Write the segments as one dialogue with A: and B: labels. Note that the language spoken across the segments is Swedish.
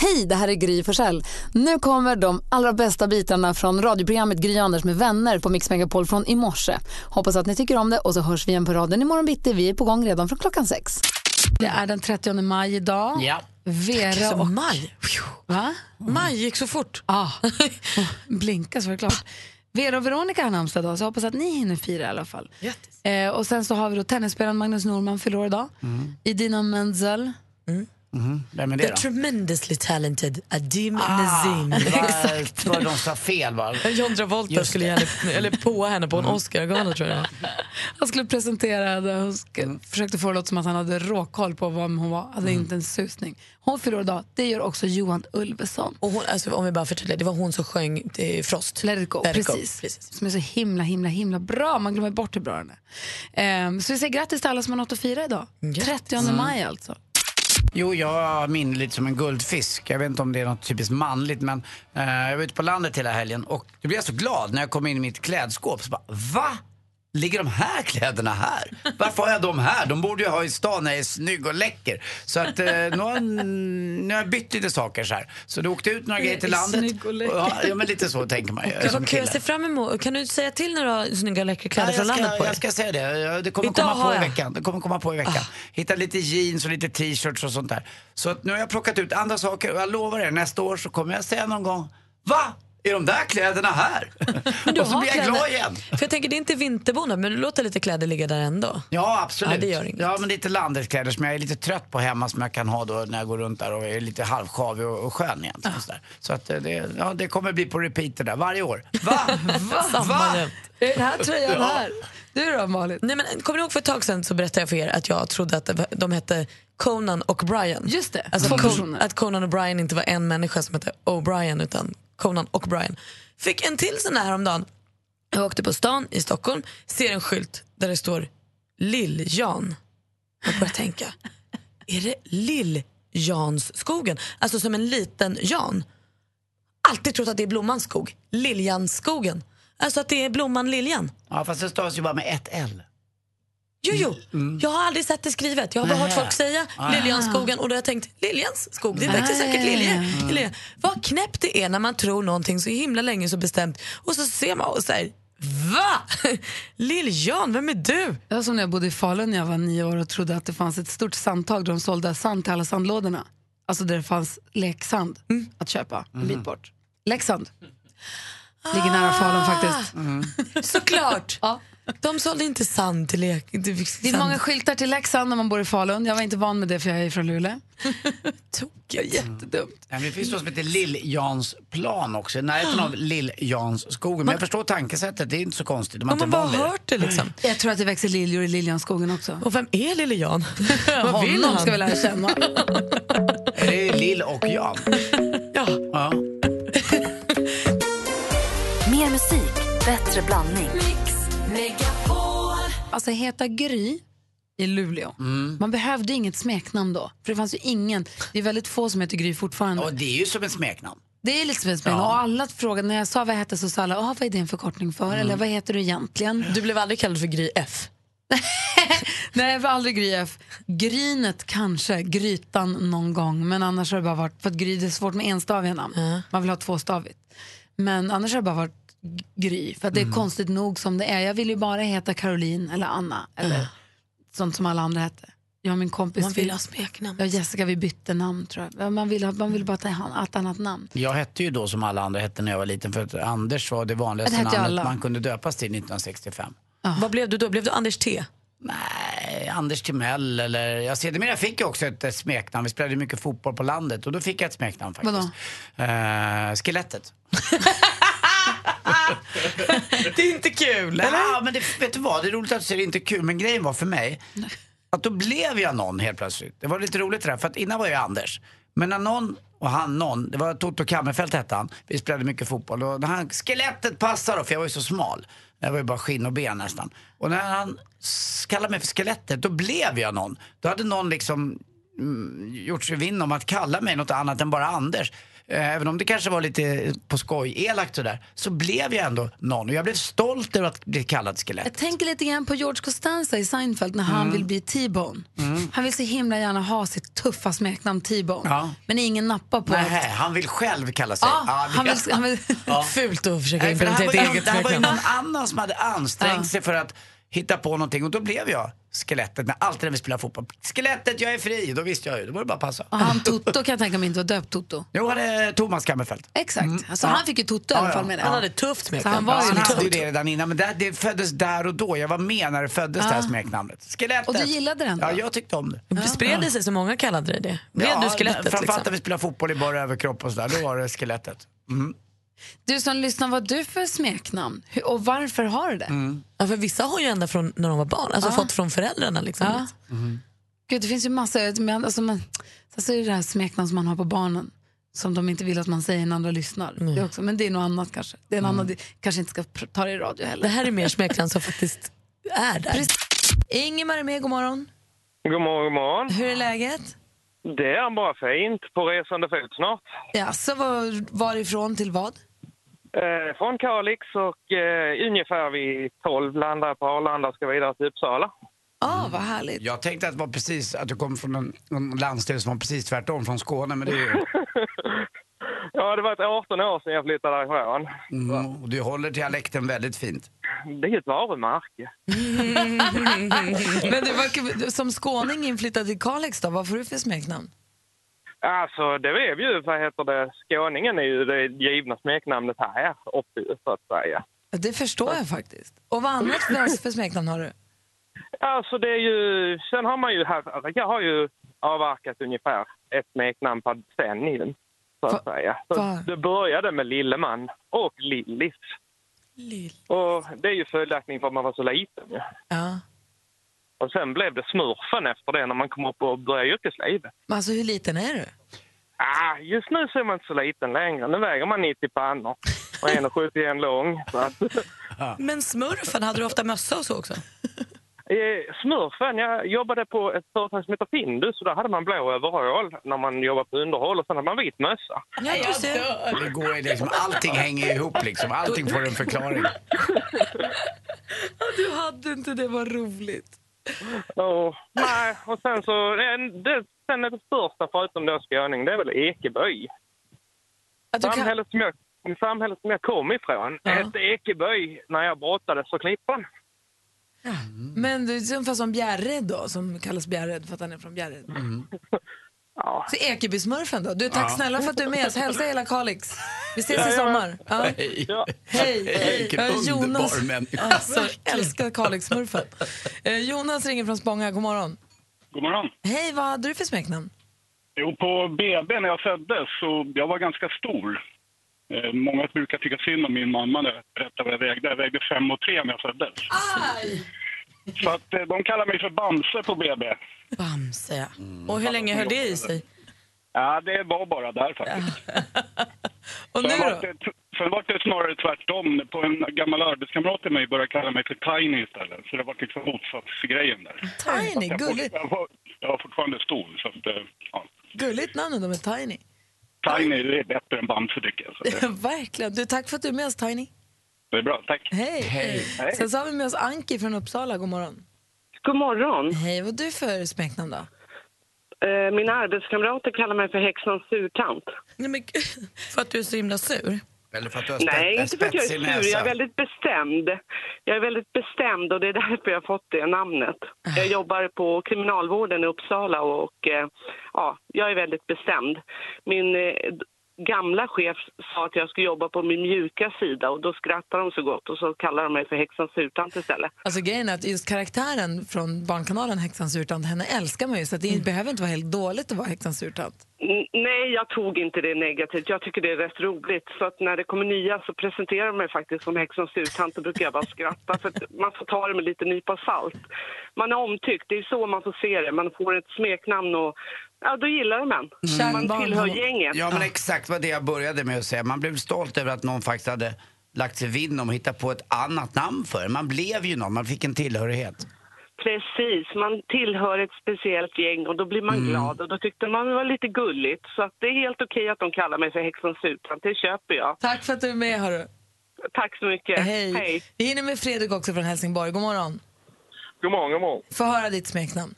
A: Hej, det här är Gry Forssell. Nu kommer de allra bästa bitarna från radioprogrammet Gry Anders med vänner på Mix Megapol från i morse. Hoppas att ni tycker om det och så hörs vi igen på raden imorgon bitti. Vi är på gång redan från klockan sex. Det är den 30 maj idag.
B: Ja.
A: Vera
C: Så
A: och...
C: maj. Phew.
A: Va?
C: Maj gick så fort.
A: Ja, blinka så var det klart. Vera och Veronica har namnsdag idag, så jag hoppas att ni hinner fira i alla fall.
C: Grattis. Mm.
A: Eh, och sen så har vi då tennisspelaren Magnus Norman fyller år idag.
B: Mm,
A: Idina Menzel.
B: Vem är
C: The
B: mm. det då?
C: tremendously talented Adim Nazim.
B: Exakt. Var de sa fel va?
C: John Travolta
B: Just
C: skulle gärna, eller på henne på en Oscar-gala tror jag.
A: Han skulle presentera det och
C: Mm.
A: sk- försökte få det låta som att han hade råkoll på vem hon var. Hade inte en susning. Hon fyller år idag. Det gör också Johan Ulveson.
C: Och hon, alltså, om vi bara förtydligar, det var hon som sjöng eh, Frost.
A: Let it go,
C: Let it go,
A: precis.
C: precis.
A: Som är så himla, himla, himla bra. Man glömmer bort hur bra den är. Ehm, så vi säger grattis till alla som har något att fira idag.
C: Mm,
A: 30 maj alltså.
B: Jo, jag minns lite som en guldfisk. Jag vet inte om det är något typiskt manligt, men eh, jag var ute på landet hela helgen och då blev jag så glad när jag kom in i mitt klädskåp. Så bara, va? Ligger de här kläderna här? Varför har jag dem här? De borde jag ha i stan när jag är snygg och läcker. Så att eh, nu, har, nu har jag bytt lite saker så här. Så det åkte ut några grejer till
A: är
B: landet.
A: snygg och läcker.
B: Ja, ja, men lite så tänker man ju
C: Ja,
B: som
C: vad kul,
B: kille.
C: jag ser fram emot. Kan du säga till när du har snygga
B: Ja,
C: läckerkläder
B: jag,
C: från landet
B: ska,
C: på dig?
B: jag ska säga det. Ja, Det kommer
C: Idag
B: komma
C: har
B: på i
C: jag. Ah.
B: veckan. Det kommer komma på i veckan. Hitta lite jeans och lite t-shirts och sånt där. Så att nu har jag plockat ut andra saker och jag lovar er, nästa år så kommer jag säga någon gång Va? Är de där kläderna här? och så
C: har
B: blir jag
C: kläder.
B: glad igen.
C: För jag tänker, det är inte vinterbonad, men du låter lite kläder ligga där ändå.
B: Ja, absolut.
C: Ja, det gör inget.
B: Ja, men lite landetkläder som jag är lite trött på hemma som jag kan ha då när jag går runt där och är lite halvskavig och, och skön
C: Ah.
B: egentligen. sådär. Så att eh, det, ja, det kommer bli på repeat det där varje år. Va? Va?
C: Samma
B: Va?
C: jämt.
A: Är den här tröjan
B: Ja.
A: här? Du då Malin?
C: Nej, men, kommer ni ihåg för ett tag sedan så berättade jag för er att jag trodde att de hette Conan och Brian.
A: Just det,
C: Alltså
A: två
C: att Con-
A: personer.
C: Att Conan och Brian inte var en människa som hette O'Brien utan Conan och Brian. Fick en till sån här häromdagen. Jag åkte på stan i Stockholm, ser en skylt där det står Lill-Jan. Jag börjar tänka, är det Lill-Jansskogen? Alltså som en liten Jan. Alltid trott att det är Blommans skog, Liljansskogen. Alltså att det är Blomman Liljan.
B: Ja, fast det stavas ju bara med ett L. Mm.
C: Jo, jo. Jag har aldrig sett det skrivet. Jag har bara
B: Nähä.
C: hört folk säga
B: Ah.
C: Liljansskogen och då har jag tänkt Liljans skog, det växer
A: Ah.
C: säkert
B: Mm.
C: lilja. lilja. Vad knäppt det är när man tror någonting så himla länge så bestämt och så ser man och säger Va? Liljan, vem är du?
A: Det var som när jag bodde i Falun när jag var nio år och trodde att det fanns ett stort sandtag där de sålde sand till alla sandlådorna. Alltså där det fanns leksand
C: Mm.
A: att köpa
B: Mm.
A: en bit bort. Leksand. Ligger nära Falun faktiskt.
C: Ah.
B: Mm.
C: Såklart.
A: Ja.
C: Ah. De sålde inte sand till lek.
A: Det är många skyltar till Leksand när man bor i Falun. Jag var inte van med det för jag är från Luleå.
C: tokigt.
A: Jättedumt.
B: Mm. Ja, men det finns något som heter Lill-Jansplan också, i närheten av Lill-Jansskogen. Men jag förstår tankesättet, det är inte så konstigt. De har
C: Om
B: inte
C: man bara
B: van vid det.
C: hört det liksom.
A: Jag tror att det växer liljor i Liljanskogen också.
C: Och vem är lille Jan? Vad vill
A: Honom
C: han?
A: ska vi lära känna.
B: Är Det är Lill och Jan.
C: Ja.
B: Ja.
D: Mer musik, bättre blandning.
A: Alltså Heta Gry i Luleå.
B: Mm.
A: Man behövde inget smeknamn då. För det fanns ju ingen. Det är väldigt få som heter Gry fortfarande.
B: Och det är ju som ett smeknamn.
A: Det är lite som en spelning.
B: Ja.
A: Och alla frågade, när jag sa vad jag hette så sa alla, "Ah, vad är det en förkortning för? Eller vad heter du egentligen?
C: Mm. Du blev aldrig kallad för Gry F.
A: Nej, jag var aldrig Gry F. Grynet kanske, grytan någon gång. Men annars har det bara varit, för att Gry det är svårt med enstaviga namn. Man vill ha tvåstavigt. Men annars har det bara varit G- Gry. För att det är
C: Mm.
A: konstigt nog som det är. Jag vill ju bara heta Caroline eller Anna. Eller sånt som alla andra hette. Jag och min kompis,
C: Man vill ha
A: vi-
C: smeknamn.
A: jag och Jessica vi bytte namn tror jag. Ja, Man vill, ha- man vill bara ta ha- ett annat namn.
B: Jag hette ju då som alla andra hette när jag var liten för att Anders var det
A: Det
B: vanligaste
A: hette ju
B: namnet
A: alla.
B: man kunde döpas till 1965.
C: Ah. Vad blev du då? Blev du Anders T?
B: Nej, Eh, Anders Timell eller... Jag sedermera fick jag också ett eh, smeknamn. Vi spelade mycket fotboll på landet och då fick jag ett smeknamn faktiskt. Eh, skelettet.
C: Det är inte kul.
B: Ja, men det, vet du vad? Det är roligt att du säger det inte är kul, men grejen var för mig att då blev jag någon helt plötsligt. Det var lite roligt det där, för att innan var jag Anders. Men när någon, och han någon, det var Toto Kammerfelt hette han, vi spelade mycket fotboll och när han, skelettet passar då, för jag var ju så smal. Jag var ju bara skinn och ben nästan. Och när han s- kallade mig för skelettet, då blev jag mm, någon. Då hade någon liksom gjort sig vinn om att kalla mig något annat än bara Anders. eh, även om det kanske var lite på skoj elakt sådär, så blev jag ändå någon. Och jag blev stolt över att bli kallad skelett.
A: Jag tänker lite grann på George Costanza i Seinfeld när han
C: Mm.
A: vill bli T-Bone. Han vill så himla gärna ha sitt tuffa smeknamn T-Bone.
B: Ja.
A: Men ingen nappar på
B: Nej,
A: att...
B: han vill själv kalla sig.
A: Ja,
B: Ja,
A: han vill, han vill,
C: Fult att försöka
B: Nej, för det här
C: implementera
B: var
C: ett
B: ju någon-
C: eget
B: det här var ju
C: smeknamn.
B: någon annan som hade ansträngt sig för att hitta på någonting och då blev jag skelettet. När alltid när vi spelade fotboll. Skelettet, jag är fri! Då visste jag ju, då var det bara att passa.
A: och han Toto kan jag tänka mig inte var döpt Toto.
B: Jo, han är Thomas Kammerfeld.
A: Exakt, så Mm. han fick ju Toto i alla fall med det.
C: Han hade tufft med
A: Så han var
B: Ja,
A: ju
B: han hade ju
A: Toto.
B: Alltså, det redan innan, men det, det föddes där och då. Jag var med när det föddes det här smeknamnet. Skelettet.
A: Och du gillade den då?
B: Ja, jag tyckte om det.
C: Spred det sig så många kallade dig det? Blev
B: ja,
C: du skelettet
B: Framförallt
C: liksom?
B: när vi spelade fotboll i bara överkropp och sådär, då var det skelettet. Mm,
A: Du som lyssnar, vad har du för smeknamn? Hur- Och varför har du det?
B: mm.
C: Ja, för vissa har ju ända från när de var barn, alltså fått från föräldrarna. Liksom.
A: Ja. Gud, det finns ju massa... Men, alltså, man, alltså är det det här smeknamn som man har på barnen som de inte vill att man säger när andra lyssnar. Det också, men det är något annat kanske. Det är en annan, det kanske inte ska pr- ta Mm. det i radio
C: Det
A: heller.
C: här är mer smeknamn som faktiskt är där. Ingemar är med, god morgon.
E: God morgon, god morgon.
C: Hur är läget?
E: Det är bara fint. På resande fot snart.
A: Ja, så var, varifrån till vad?
E: Eh, från Kalix och eh, ungefär vid 12 landar jag på Arlanda och ska vidare till Uppsala.
A: Ah, vad härligt.
B: Jag tänkte att, det var precis, att du kom från en, en landsdel som var precis tvärtom, från Skåne. Men det är ju,
E: Ja, det var ett 18 år sedan jag flyttade därifrån.
B: mm, och du håller dialekten väldigt fint.
E: Det är ett varumärke.
A: Men du, vad kul- som skåning inflyttad till Kalix, då, vad får du för smeknamn?
E: Alltså, det blev ju, vad heter det, skåningen är ju det givna smeknamnet här uppe ju, så att säga.
A: Ja, Det förstår jag faktiskt. Och vad annat för, för smeknamn har du?
E: Alltså det är ju, sen har man ju, här, jag har ju avverkat ungefär ett smeknamn per decennium. Så att
A: Va-
E: säga. Så
A: va-
E: det började med Lilleman och Lillis. Och det är ju följaktligen för att man var så liten ju.
C: Ja.
E: Och sen blev det smurfen efter det när man kom upp och började yrkeslivet.
C: Men alltså, hur liten är du?
E: Ah, just nu så är man inte så liten längre. Nu väger man 90 pannor och 1,71 lång. Så att,
C: Men smurfen, hade du ofta mössa och så också?
E: Eh, smurfen, jag jobbade på ett företag som heter Findus och där hade man blå överall när man jobbade på underhåll och sen hade man vit mössa.
C: Ja, du ser.
B: Det går ju liksom, allting hänger ihop liksom, allting får en förklaring.
C: Du hade inte det, vad roligt.
E: Och, nej, och sen så, det, det, sen är det största förutom då skåning, det är väl Ekeby.
C: Att du kan...
E: Samhället som jag, samhället som jag kom ifrån
C: Ja.
E: hette Ekeby när jag brottades för klippan.
C: Mm. Men du är ungefär som Bjärred då, som kallas Bjärred för att han är från Bjärred.
E: Mm. Ja.
C: Så Ekebysmurfen då. Du, tack
B: Ja.
C: snälla för att du är med oss. Hälsa hela Kalix. Vi ses i
E: Jajamän.
C: sommar. Ja.
B: Hej!
E: Ja.
C: Hej!
B: Hej, vilken
C: Ja,
B: underbar människa.
C: Alltså, älskar Kalixmurfen. Eh, Jonas ringer från Spånga. God morgon.
F: God morgon.
C: Hej, vad hade du för smeknamn?
F: Jo, på BB när jag föddes så jag var ganska stor. Eh, många brukar tycka synd om min mamma när jag berättar vad jag vägde. Jag vägde 5 och 3 när jag föddes. Så att, eh, de kallar mig för Bamse på BB.
C: Bamse, ja.
E: Mm.
C: Och hur länge höll det i sig?
F: Ja, det var bara där faktiskt.
C: Och nu
F: Sen var
C: då?
F: det, sen var det snarare tvärtom. På en gammal arbetskamrat till mig började kalla mig för Tiny istället. Så det var liksom motsatsgrejen där.
C: Tiny.
F: Jag, fort,
C: Gulligt,
F: jag, var, jag var fortfarande stor. Så att, eh, ja.
C: gulligt namn ändå med Tiny.
F: Tiny det är bättre än Bamse tycker jag. Så det,
C: Verkligen. Du, tack för att du är med oss, Tiny.
F: det är bra, tack.
C: Hej.
B: Hej.
C: Sen så har vi med oss Anki från Uppsala. God morgon.
G: God morgon.
C: Hej, vad har du för smeknamn då?
G: Eh, Mina arbetskamrater kallar mig för häxans surtant.
C: Nej, men, gud, för att du är så himla sur?
B: Eller för att du har
G: Nej,
B: spe-
G: inte för att jag är
B: spetsig näsa.
G: sur. Jag är väldigt bestämd. Jag är väldigt bestämd och det är därför jag har fått det namnet.
C: Ah.
G: Jag jobbar på kriminalvården i Uppsala och eh, ja, jag är väldigt bestämd. Min eh, gamla chef sa att jag skulle jobba på min mjuka sida och då skrattar de så gott och så kallar de mig för häxans surtant istället.
A: Alltså grejen är att just karaktären från Barnkanalen Häxans urtant, henne älskar man ju så att det behöver inte vara helt dåligt att vara Häxans urtant.
G: N- Nej, jag tog inte det negativt. Jag tycker det är rätt roligt. Så att när det kommer nya så presenterar de mig faktiskt som häxans surtant. Då brukar jag bara skratta. För att man får ta det med lite nypa salt. Man är omtyckt. Det är så man får se det. Man får ett smeknamn och ja, då gillar de en.
B: Mm.
G: Man
C: Kärnbarn
G: tillhör
C: har-
G: gänget.
B: Ja men exakt vad det jag började med att säga. Man blev stolt över att någon faktiskt hade lagt sig vinn om att hitta på ett annat namn för en. Man blev ju någon, man fick en tillhörighet.
G: Precis, man tillhör ett speciellt gäng och då blir
B: Mm.
G: man glad och då tyckte man det var lite gulligt. Så att det är helt okej att de kallar mig för häxan Susan, det köper jag.
A: Tack för att du är med. Hörru.
G: Tack så mycket.
A: Hej. Vi hinner med Fredrik också från Helsingborg. God morgon.
H: God morgon, god morgon.
A: Få höra ditt smeknamn.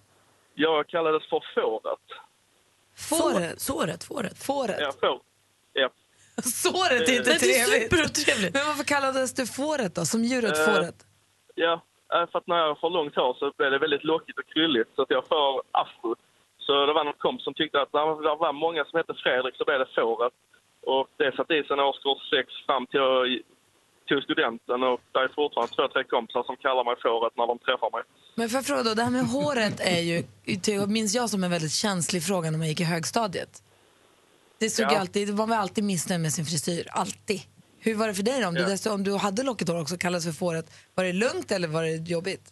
H: Jag kallades för Fåret.
A: Fåret. Såret. Fåret. Fåret.
H: Ja, får. Ja. Eh,
I: Såret är inte
A: Nej, det är
I: trevligt.
A: superotrevligt.
I: Men varför kallades du fåret då? Som djuret
H: Eh,
I: fåret?
H: ja, eh, för att när jag får långt hår så blir det väldigt lockigt och krylligt så att jag får afro. Så det var någon kompis som tyckte att när det var många som hette Fredrik så blev det Fåret. Och det satt i sig när årskurs 6 fram till jag tog studenten och det är fortfarande två, tre kompisar som kallar mig Fåret när de träffar mig.
A: Men för fråga då, det här med håret är ju, det minns jag som en väldigt känslig fråga när man gick i högstadiet. Det såg
H: Ja.
A: ju alltid, var man alltid missnöjd med sin frisyr, alltid. Hur var det för dig då? Om, du,
H: Ja.
A: dessutom- om du hade lockigt hår också kallades för fåret, var det lugnt eller var det jobbigt?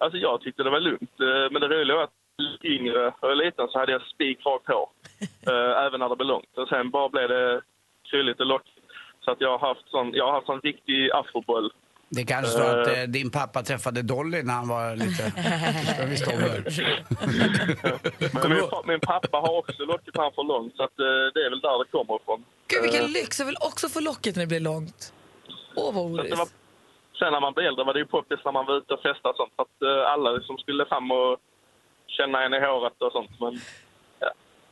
H: Alltså jag tyckte det var lugnt. Eh, Men det roliga var att lite yngre och liten så hade jag spikrakt hår. eh, även när det blev långt. Och sen bara blev det krylligt och lockigt. Så att jag har haft sån, jag har haft sån riktig afroboll.
B: Det kanske så att eh, din pappa träffade Dolly när han var lite... Jag visste om det.
H: Men
B: Kommer
H: min,
B: du-
H: pa- min pappa har också lockigt han för långt. Så att, eh, det är väl där det kommer ifrån. Eh,
A: Gud vilken lyx, jag vill också få lockigt när det blir långt. Åh vad
H: Så att det
A: oris.
H: var, sen när man blev äldre var det ju poppis när man var ute och festade och sånt. Så att eh, alla liksom skulle fram och känna en i håret och sånt. Men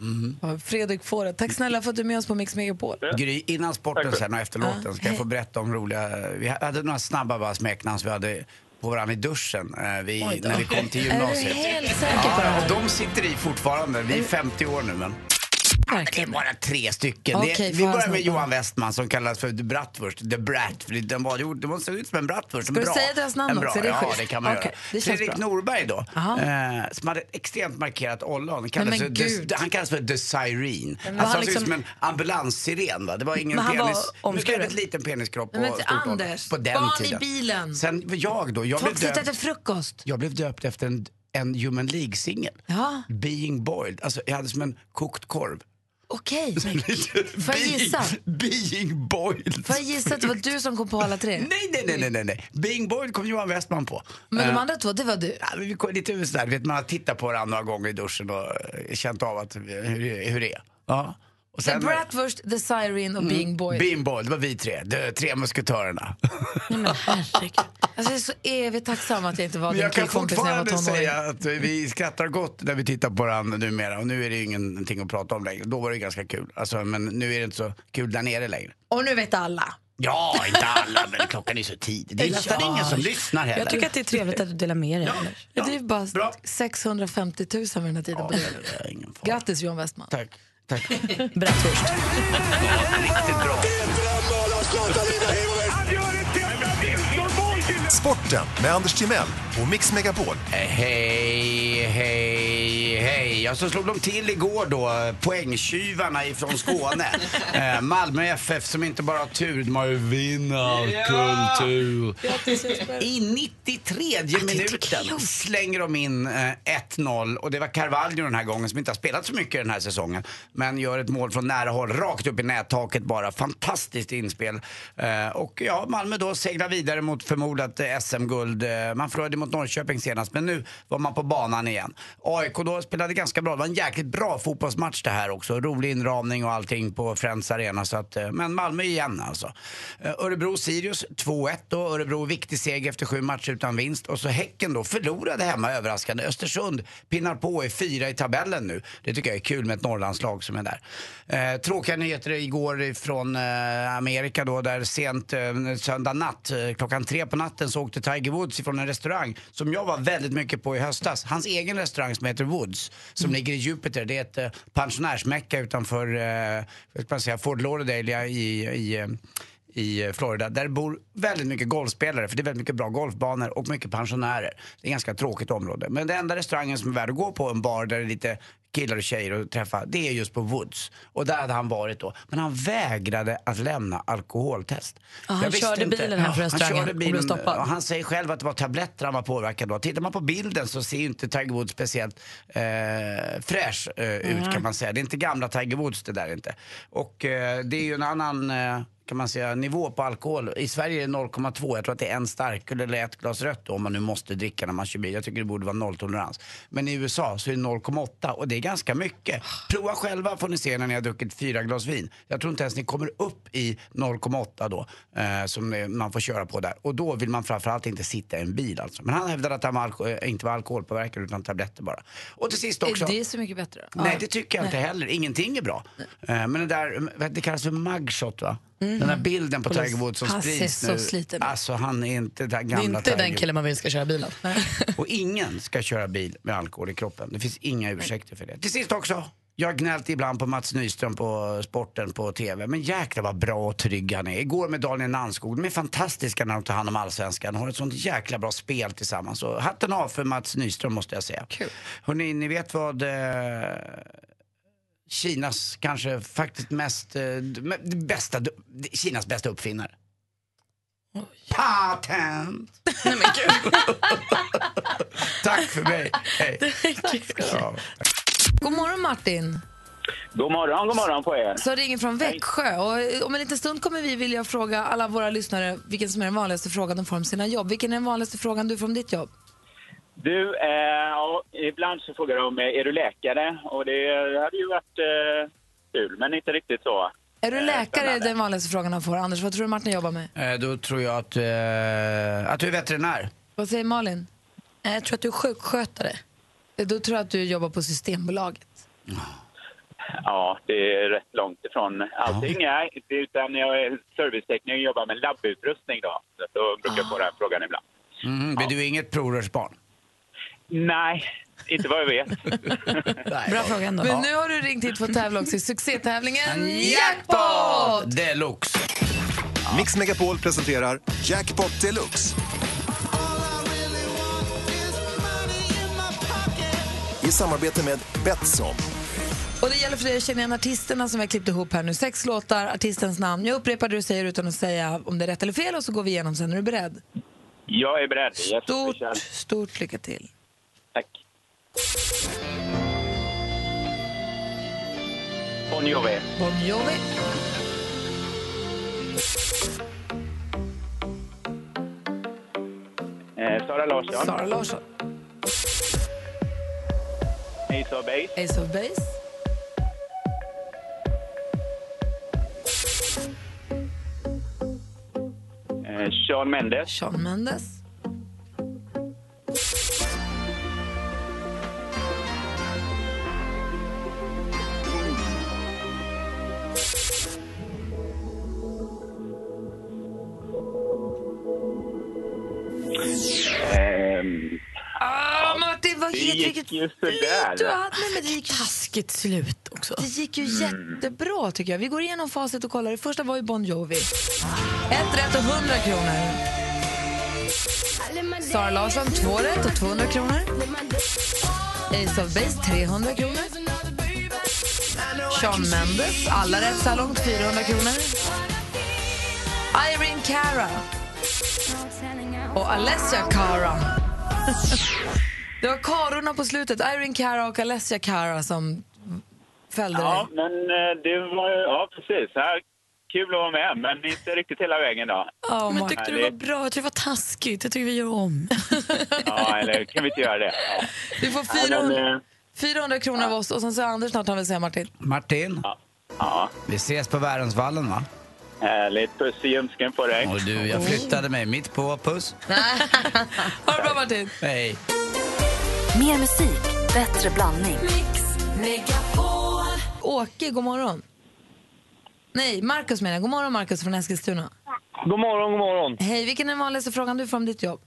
B: Mm.
A: Ja, Fredrik Fåret, tack snälla för att du är med oss på Mix Megapol.
B: Gry, innan sporten
H: Tack.
B: sen och efter låten ska jag få berätta om roliga... Vi hade några snabba bara smeknamn som vi hade på varandra i duschen eh, vi,
A: Oj då.
B: när vi kom till
A: Är du
B: gymnasiet.
A: helt säker på det Mm.
B: Ja,
A: här?
B: och de sitter i fortfarande. Vi är 50 år nu men. Det är
A: Verkligen.
B: bara tre stycken.
A: Okej,
B: det,
A: får
B: vi
A: jag
B: börjar med
A: snabbt.
B: Johan Westman som kallas för The Bratwurst. The Brat. för Den var, gjord- den såg ut som en bratwurst. Ska
A: du säga deras namn
B: en bra,
A: också? Är det
B: Ja,
A: schysst?
B: det kan man
A: Okej, det känns
B: göra. Fredrik
A: bra.
B: Norberg då,
A: Aha.
B: eh, som hade ett extremt markerat ollon.
A: men
B: Kallades för
A: gud.
B: the, han kallas för The Siren.
A: Men var han
B: Alltså, han såg
A: liksom-
B: ut som en ambulanssiren. Va? Det var ingen
A: Men han var
B: penis. Det var
A: omskuren.
B: väldigt liten peniskropp.
A: Men
B: och
A: men
B: stort ollon
A: Anders,
B: på den
A: barn i
B: tiden.
A: bilen.
B: Sen jag då. Jag
A: Folk
B: blev
A: sitter
B: döpt,
A: efter frukost.
B: jag blev döpt efter en, en Human League-singel.
A: Ja,
B: Being boiled. Alltså, jag hade som en kokt korv.
A: okej.
B: Får
A: jag gissa?
B: Being boiled.
A: Får jag gissa att det var du som kom på alla tre?
B: Nej, nej, nej, nej, nej, nej. Being boiled kom Johan Westman på.
A: Men de
B: Eh,
A: andra två, det var du.
B: ja, men vi kom lite sådär, du vet, man har tittat på varandra några gånger i duschen och eh, känt av att, eh, hur, hur det är. Ja. Och Mm.
A: The Bratwurst, The Siren och Bing Boy.
B: Being boiled, det var vi tre. De tre musketörerna.
A: Nej, men herregud. Alltså, jag är så evigt tacksam att jag inte var
B: Men
A: din
B: jag kan
A: killkompis när jag var
B: fortfarande
A: tonåring.
B: säga att vi skrattar gott när vi tittar på varandra numera och nu är det ju ingenting att prata om längre. Då var det ganska kul, alltså, men nu är det inte så kul där nere längre.
A: Och nu vet alla.
B: Ja, inte alla, men klockan är så tidigt. Det är nästan ingen som lyssnar heller.
C: Jag tycker att det är trevligt att du delar med dig. Anders.
A: Ja, det är bara
B: Bra.
A: 650 000 vid den här tiden på det.
B: det är ingen fara.
A: Grattis Johan Westman.
B: Tack. Tack.
C: Bratwurst.
B: Riktigt bra.
J: Sporten med Anders Timell och Mix Megapol.
B: Eh, Hej, hej, hej. Ja, så slog de till igår då, poängtjuvarna ifrån Skåne. eh, Malmö FF som inte bara har tur, de har ju vinnarkultur. I 93 minuten slänger de in eh, 1-0 och det var Carvalho den här gången som inte har spelat så mycket den här säsongen. Men gör ett mål från nära håll, rakt upp i nättaket bara. Fantastiskt inspel. Eh, och ja, Malmö då seglar vidare mot förmodat eh, SM-guld. Eh, man förlorade mot Norrköping senast, men nu var man på banan igen. AIK då spelade ganska bra. Det var en jäkligt bra fotbollsmatch det här också. Rolig inramning och allting på Friends Arena. Så att, eh, men Malmö igen alltså. Eh, Örebro-Sirius 2-1 då. Örebro viktig seger efter sju matcher utan vinst. Och så Häcken då förlorade hemma överraskande. Östersund pinnar på och är fyra i tabellen nu. Det tycker jag är kul med ett Norrlandslag som är där. Eh, tråkiga nyheter igår från eh, Amerika då där sent eh, söndag natt, eh, klockan tre på natten så åkte Tiger Woods ifrån en restaurang som jag var väldigt mycket på i höstas. Hans egen restaurang som heter Woods som
C: Mm.
B: ligger i Jupiter. Det är ett eh, pensionärsmecka utanför eh, vad ska man säga, Fort Lauderdale i, i eh, i eh, Florida. Där bor väldigt mycket golfspelare för det är väldigt mycket bra golfbanor och mycket pensionärer. Det är ett ganska tråkigt område. Men den enda restaurangen som är värd att gå på, en bar där det är lite killar och tjejer och träffa, det är just på Woods. Och där hade han varit då. Men han vägrade att lämna alkoholtest.
C: han
B: Jag visste
C: körde bilen här för
B: Ja,
C: restaurangen
B: Han körde
C: och blev
B: bilen
C: stoppad.
B: och han säger själv att det var tabletter han var påverkad av. Tittar man på bilden så ser ju inte Tiger Woods speciellt eh, fräsch eh, ut kan man säga. Det är inte gamla Tiger Woods det där inte. Och eh, det är ju en annan eh, kan man säga, nivå på alkohol. I Sverige är det 0,2. Jag tror att det är en starköl eller ett glas rött då, om man nu måste dricka när man kör bil. Jag tycker det borde vara nolltolerans. Men i USA så är det 0,8 och det är ganska mycket. Prova själva får ni se när ni har druckit fyra glas vin. Jag tror inte ens ni kommer upp i 0,8 då eh, som eh, man får köra på där. Och då vill man framförallt inte sitta i en bil alltså. Men han hävdade att han var alko- eh, inte var alkoholpåverkad utan tabletter bara. Och till sist också...
A: Är det så mycket bättre?
B: Nej, det tycker jag inte heller. Ingenting är bra. Eh, Men det där, vad- det kallas för mugshot va? Den där bilden på
A: Polis.
B: Tiger Woods som
A: Han ser
B: sprids nu.
A: så sliten ut.
B: Alltså han är inte den
C: Det är
B: gamla
C: inte den
B: Tiger.
C: killen man vill ska köra bilen.
B: Och ingen ska köra bil med alkohol i kroppen. Det finns inga ursäkter för det. Till sist också. Jag har gnällt ibland på Mats Nyström på sporten på TV. Men jäklar vad bra och trygg han är. Igår med Daniel Nanskog. De är fantastiska när de tar hand om allsvenskan. har ett sånt jäkla bra spel tillsammans. Och hatten av för Mats Nyström måste jag säga. Kul. Hörrni, ni vet vad eh, Kinas kanske faktiskt mest, eh, d- bästa, Kinas bästa uppfinnare. Patent! Tack för mig. Hej. Ja.
A: God morgon Martin.
K: God morgon, god morgon på er.
A: Så ringer från Växjö. Och eh, om en liten stund kommer vi vilja fråga alla våra lyssnare vilken som är den vanligaste frågan de får om sina jobb. Vilken är den vanligaste frågan du får om ditt jobb?
K: Du, eh, ja, ibland så frågar de eh, är du läkare och det hade ju varit eh, kul, men inte riktigt så.
A: Är du
K: Eh,
A: läkare är
K: spännande.
A: den vanligaste frågan han får. Anders, vad tror du Martin jobbar med?
B: Eh, Då tror jag att, eh, att du är veterinär.
A: Vad säger Malin?
C: Eh, Jag tror att du är sjukskötare.
A: Eh, Då tror jag att du jobbar på Systembolaget.
K: Ja, det är rätt långt ifrån allting. Ja. Utan jag är servicetekniker och jobbar med labbutrustning då. Så då brukar jag få den frågan ibland.
B: Mm, men du är inget provrörsbarn.
K: Nej, inte vad jag vet.
C: Bra fråga ändå.
A: Men nu har du ringt hit för att tävla också i succétävlingen Jackpot!
B: Jackpot deluxe!
J: Mix Megapol presenterar Jackpot Deluxe. I samarbete med Betsson.
A: Och det gäller för dig att känna igen artisterna som jag klippt ihop här nu. Sex låtar, artistens namn. Jag upprepar det du säger utan att säga om det är rätt eller fel och så går vi igenom sen. Är du beredd?
K: Jag är beredd. Yes,
A: Stort,
K: Richard.
A: stort lycka till.
K: Tack. Bon Jovi.
A: Bon Jovi.
K: Eh, Sara Larsson.
A: Sara Larsson.
K: Ace of Base.
A: Ace of Base.
K: Eh, Sean Mendes.
A: Shawn Mendes.
K: Ehm,
A: Ah, Martin, vad
K: det
A: helt
K: gick
A: vilket
K: ju
A: liv
K: sådär.
A: du hade. Nej, men det, gick,
C: Taskigt slut också.
A: det gick ju jättebra tycker jag. Vi går igenom facit och kollar. Det första var ju Bon Jovi. Ett rätt och 100 kronor. Sara Larsson, två rätt och 200 kronor. Ace of Base, 300 kronor. Shawn Mendes, alla rätt så här långt, 400 kronor. Irene Cara och Alessia Cara. Det var karorna på slutet, Irene Cara och Alessia Cara som fällde
K: Ja,
A: dig.
K: men eh, det var ju... Ja, precis. Ja, kul att vara med, men inte riktigt hela vägen då.
A: Oh,
C: Men
A: Martin.
C: tyckte du var bra? Jag tyckte det var taskigt. Jag tycker vi gör om.
K: Ja, eller kan vi inte göra det? Ja.
A: Du får
K: Men,
A: 400,
K: eh,
A: 400 kronor av oss och sen så Anders något han vill säga Martin.
B: Martin,
K: ja,
B: vi ses på Värensvallen va?
K: härligt. Puss i ljumsken på dig.
B: Och du, jag flyttade mig mitt på. Puss.
A: Ha det bra Martin!
B: Hej.
D: Mer musik, bättre blandning.
A: Åke, god morgon. Nej, Markus menar jag. God morgon Markus från Eskilstuna.
E: God morgon, god morgon.
A: Hej, vilken är den vanligaste frågan du får om ditt jobb?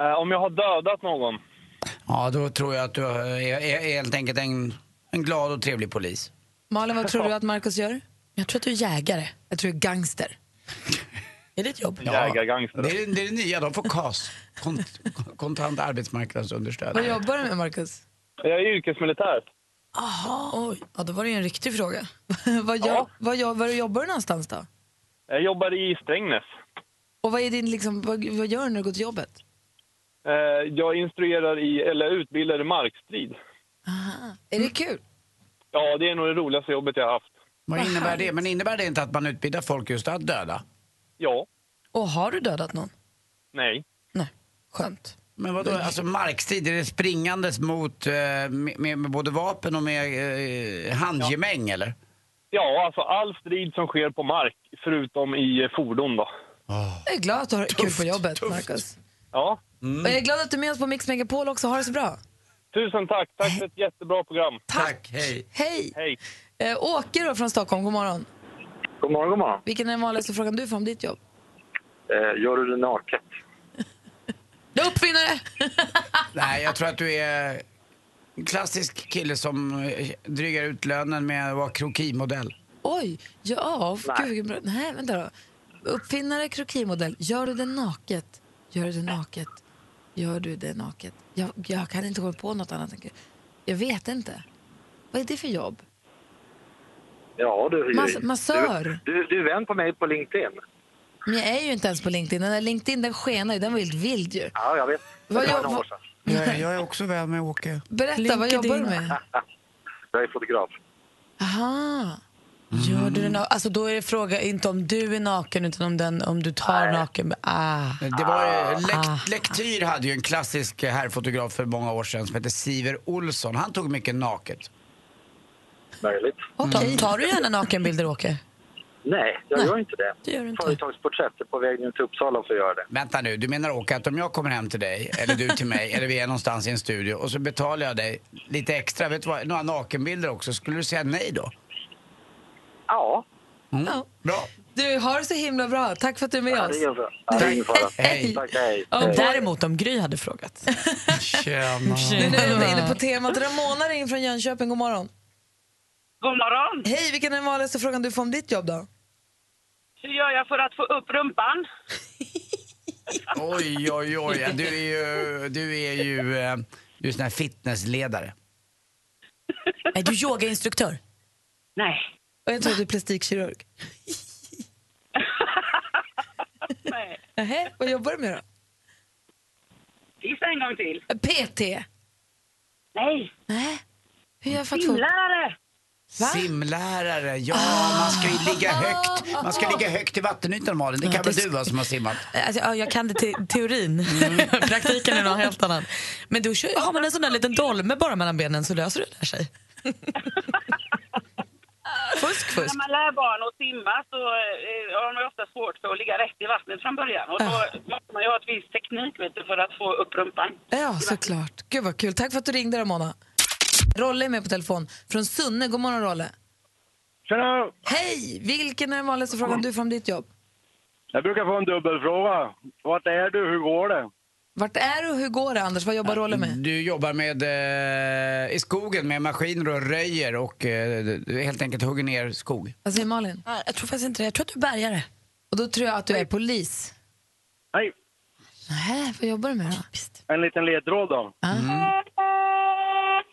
E: Eh, om jag har dödat någon?
B: Ja, då tror jag att du är, är helt enkelt en, en glad och trevlig polis.
A: Malin, vad tror du att Markus gör?
C: Jag tror att du är jägare.
A: Jag tror det är gangster.
C: Är det ett jobb?
E: Jägargangster.
B: Det är det, är det nya, de får KAS. Kont, kontant arbetsmarknadsunderstöd.
A: Vad jobbar du med Markus?
E: Jag är yrkesmilitär.
C: Jaha. Oj, ja, då var det ju en riktig fråga.
A: vad, gör, vad, gör, vad jobbar du någonstans då?
E: Jag jobbar i Strängnäs.
A: Och vad, är din, liksom, vad, vad gör du när du går till jobbet?
E: Eh, jag instruerar i, eller utbildar i markstrid.
A: Är det kul?
E: Ja, det är nog det roligaste jobbet jag har haft.
B: Vad
C: Vad
B: innebär det?
C: härligt.
B: Men innebär det inte att man utbildar folk just att döda?
E: Ja.
C: Och har du dödat någon?
E: Nej.
C: Skönt.
B: Men vadå, alltså markstrid, är det springandes mot eh, med, med både vapen och med eh, handgemäng eller?
E: Ja, alltså all strid som sker på mark, förutom i eh, fordon då.
A: Ah.
C: Jag är glad att du har kul på jobbet, Marcus.
E: Ja.
C: Och jag är glad att du är med oss på Mix Megapol också. Ha det så bra.
E: Tusen tack. Tack för ett jättebra program.
B: Tack, hej.
C: Hej!
E: Hej.
C: Eh, Åke då från Stockholm, god morgon.
H: God morgon, god morgon.
C: Vilken är den vanligaste frågan du får om ditt jobb?
H: Eh, gör du det naket?
C: Du är uppfinnare!
B: Nej, jag tror att du är en klassisk kille som eh, drygar ut lönen med att vara krokimodell.
A: Oj, ja,
B: Nej.
A: gud vilken bra. Nej, vänta då. Uppfinnare, krokimodell. Gör du det naket? Gör du det naket? Gör du det naket? Jag, jag kan inte komma på något annat. än- Jag vet inte. Vad är det för jobb?
H: Ja, du.
A: Mas- massör.
H: Du, du, du är vän på mig på LinkedIn.
A: Men jag är ju inte ens på LinkedIn. Den där LinkedIn den skenar ju. Den var helt vild ju.
H: Ja, jag vet.
A: Vad
H: Det var
A: jobb-
H: några år sedan.
B: Jag, jag är också väl med Åke.
A: Berätta, vad jobbar du med?
H: Jag är fotograf.
C: Aha. Gör du det na- alltså då är det fråga inte om du är naken utan om, den, om du tar naken. Ah.
B: Det var, eh,
C: Ah.
B: lekt, lektyr hade ju en klassisk eh, herrfotograf för många år sedan som hette Siver Olsson. Han tog mycket naket.
H: Möjligt.
C: Tar, tar du gärna nakenbilder, Åke?
H: Nej, jag gör inte det.
C: det gör du inte.
H: Företagsporträtt är på väg ner till Uppsala för att göra det.
B: Vänta nu, du menar Åke att om jag kommer hem till dig, eller du till mig, eller vi är någonstans i en studio och så betalar jag dig lite extra, vet du vad, några nakenbilder också, skulle du säga nej då?
H: Ja.
B: Mm.
C: Ja.
B: Bra.
A: Du, har det så himla bra. Tack för att du är med
H: Ja,
A: oss.
H: det är ingen fara. Ja, det är ingen fara.
C: Hej.
H: Tack, hej.
C: Om,
H: Hej.
C: däremot om Gry hade frågat.
B: Tjena.
C: Nu när vi ändå är inne på temat. Ramona ring från Jönköping, god morgon.
L: God morgon.
C: Hej, vilken är den vanligaste frågan du får om ditt jobb då?
L: Hur gör jag för att få upp rumpan?
B: Oj, oj, oj. ja, Du är ju, du är ju eh, du är sån här fitnessledare.
C: Är du yogainstruktör?
L: Nej.
C: Och jag tror att du är plastikkirurg.
L: Nej.
C: Nähä, vad jobbar du med då?
L: Finns det en gång till?
C: PT.
L: Nej.
A: Nej. Hur gör jag för att få...
L: Simlärare.
B: Simlärare, ja man ska ju ligga högt. Man ska ligga högt i vattenytan Malin, det kan väl du va som har simmat?
C: Alltså, ja, jag kan det te teorin. Praktiken är något helt annat. Men då kör, har man en sån där liten dolme bara mellan benen så löser det där sig. fusk, fusk.
L: När man lär barn att simma så eh, har de ju ofta svårt för att ligga rätt i vattnet från början. Och
B: Ah.
L: då måste man ju ha ett visst teknik vet du, för att få upp rumpan.
C: Ja, såklart. Gud vad kul. Tack för att du ringde Ramona. Rolle är med på telefon från Sunne. God morgon Rolle.
M: Tjena!
C: Hej! Vilken är den vanligaste frågan du får om ditt jobb?
M: Jag brukar få en dubbelfråga. Vart är du? Hur går det?
C: Vart är du och hur går det Anders? Vad jobbar Rolle med?
B: Du jobbar med, eh, i skogen med maskiner och röjer och eh, du helt enkelt hugger ner skog.
A: Vad säger Malin?
C: Jag tror faktiskt inte det. Jag tror att du är bärgare.
A: Och då tror jag att du är polis.
M: Nej.
A: Nej, vad jobbar du med då?
M: En liten ledtråd då.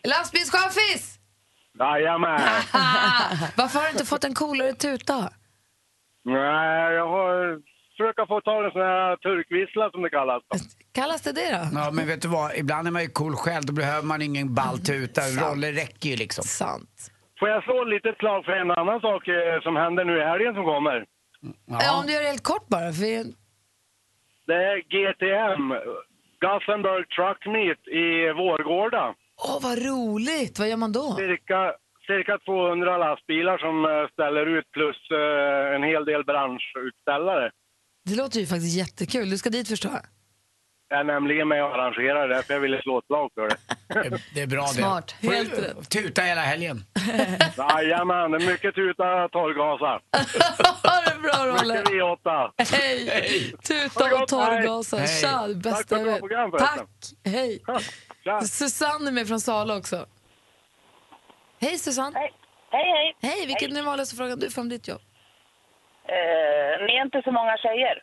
A: Lastbilschaffis!
M: Jajamän!
A: Ah. Varför har du inte fått en coolare tuta?
M: Nej, jag har försökt få tag i en sån här turkvissla som det kallas. då.
A: Kallas det det då?
B: Ja men vet du vad, ibland är man ju cool själv, då behöver man ingen
C: Mm.
B: balltuta. Roller räcker ju liksom.
A: Sant.
M: Får jag slå lite ett slag för en annan sak eh, som händer nu i helgen som kommer?
A: Eh, Om du gör det helt kort bara. För vi-
M: Det är GTM, Gothenburg Truck Meet i Vårgårda.
A: Åh, vad roligt! Vad gör man då?
M: Cirka, cirka 200 lastbilar som eh, ställer ut plus eh, en hel del branschutställare.
A: Det låter ju faktiskt jättekul. Du ska dit förstår jag.
M: Jag är nämligen med och arrangerar det, därför jag ville slå ett slag för det.
B: Det är bra
A: Smart.
B: det. Får
A: Helt
B: du, Tuta hela helgen.
M: Jajamän, det är mycket tuta och torrgasar.
A: ha det bra, Rolle!
M: Mycket V8.
A: Hej!
M: Ha det
A: Tuta
M: gott,
A: och torrgasar.
M: hej.
A: Tja, det
M: Tack för
A: bästa
M: ett
A: jag
M: bra
A: vet.
M: program förresten.
A: Tack! Hej! Susanne är med från Sala också. Hej Susanne! Hej,
L: hej!
A: Hej, vilken är den vanligaste frågan du får om ditt jobb?
L: Eh, ni är inte så många tjejer.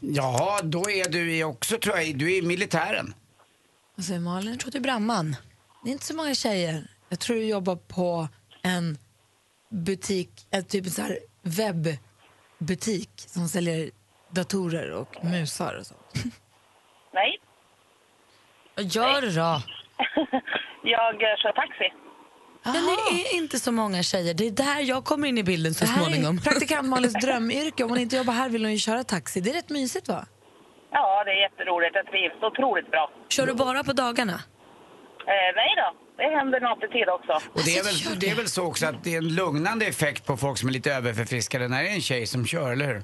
B: Jaha, då är du i också tror jag, du är i militären.
A: Vad säger Malin? Jag tror att du är brandman. Det är inte så många tjejer. Jag tror du jobbar på en butik, en typ en så här webbutik som säljer datorer och musar och sånt.
L: Nej.
C: Gör det då!
L: Jag eh, kör taxi.
C: Men det är inte så många tjejer. Det är där jag kommer in i bilden så
A: Det här
C: småningom.
A: är praktikant Malins drömyrke. Om hon inte jobbar här vill hon ju köra taxi. Det är rätt mysigt va?
L: Ja, det är jätteroligt. Jag trivs otroligt bra.
C: Kör du bara på dagarna?
L: Eh, nej då, det händer något i tid också.
B: Och det är,
C: Alltså,
B: väl, det är väl så också att det är en lugnande effekt på folk som är lite överförfriskade när det är en tjej som kör, eller hur?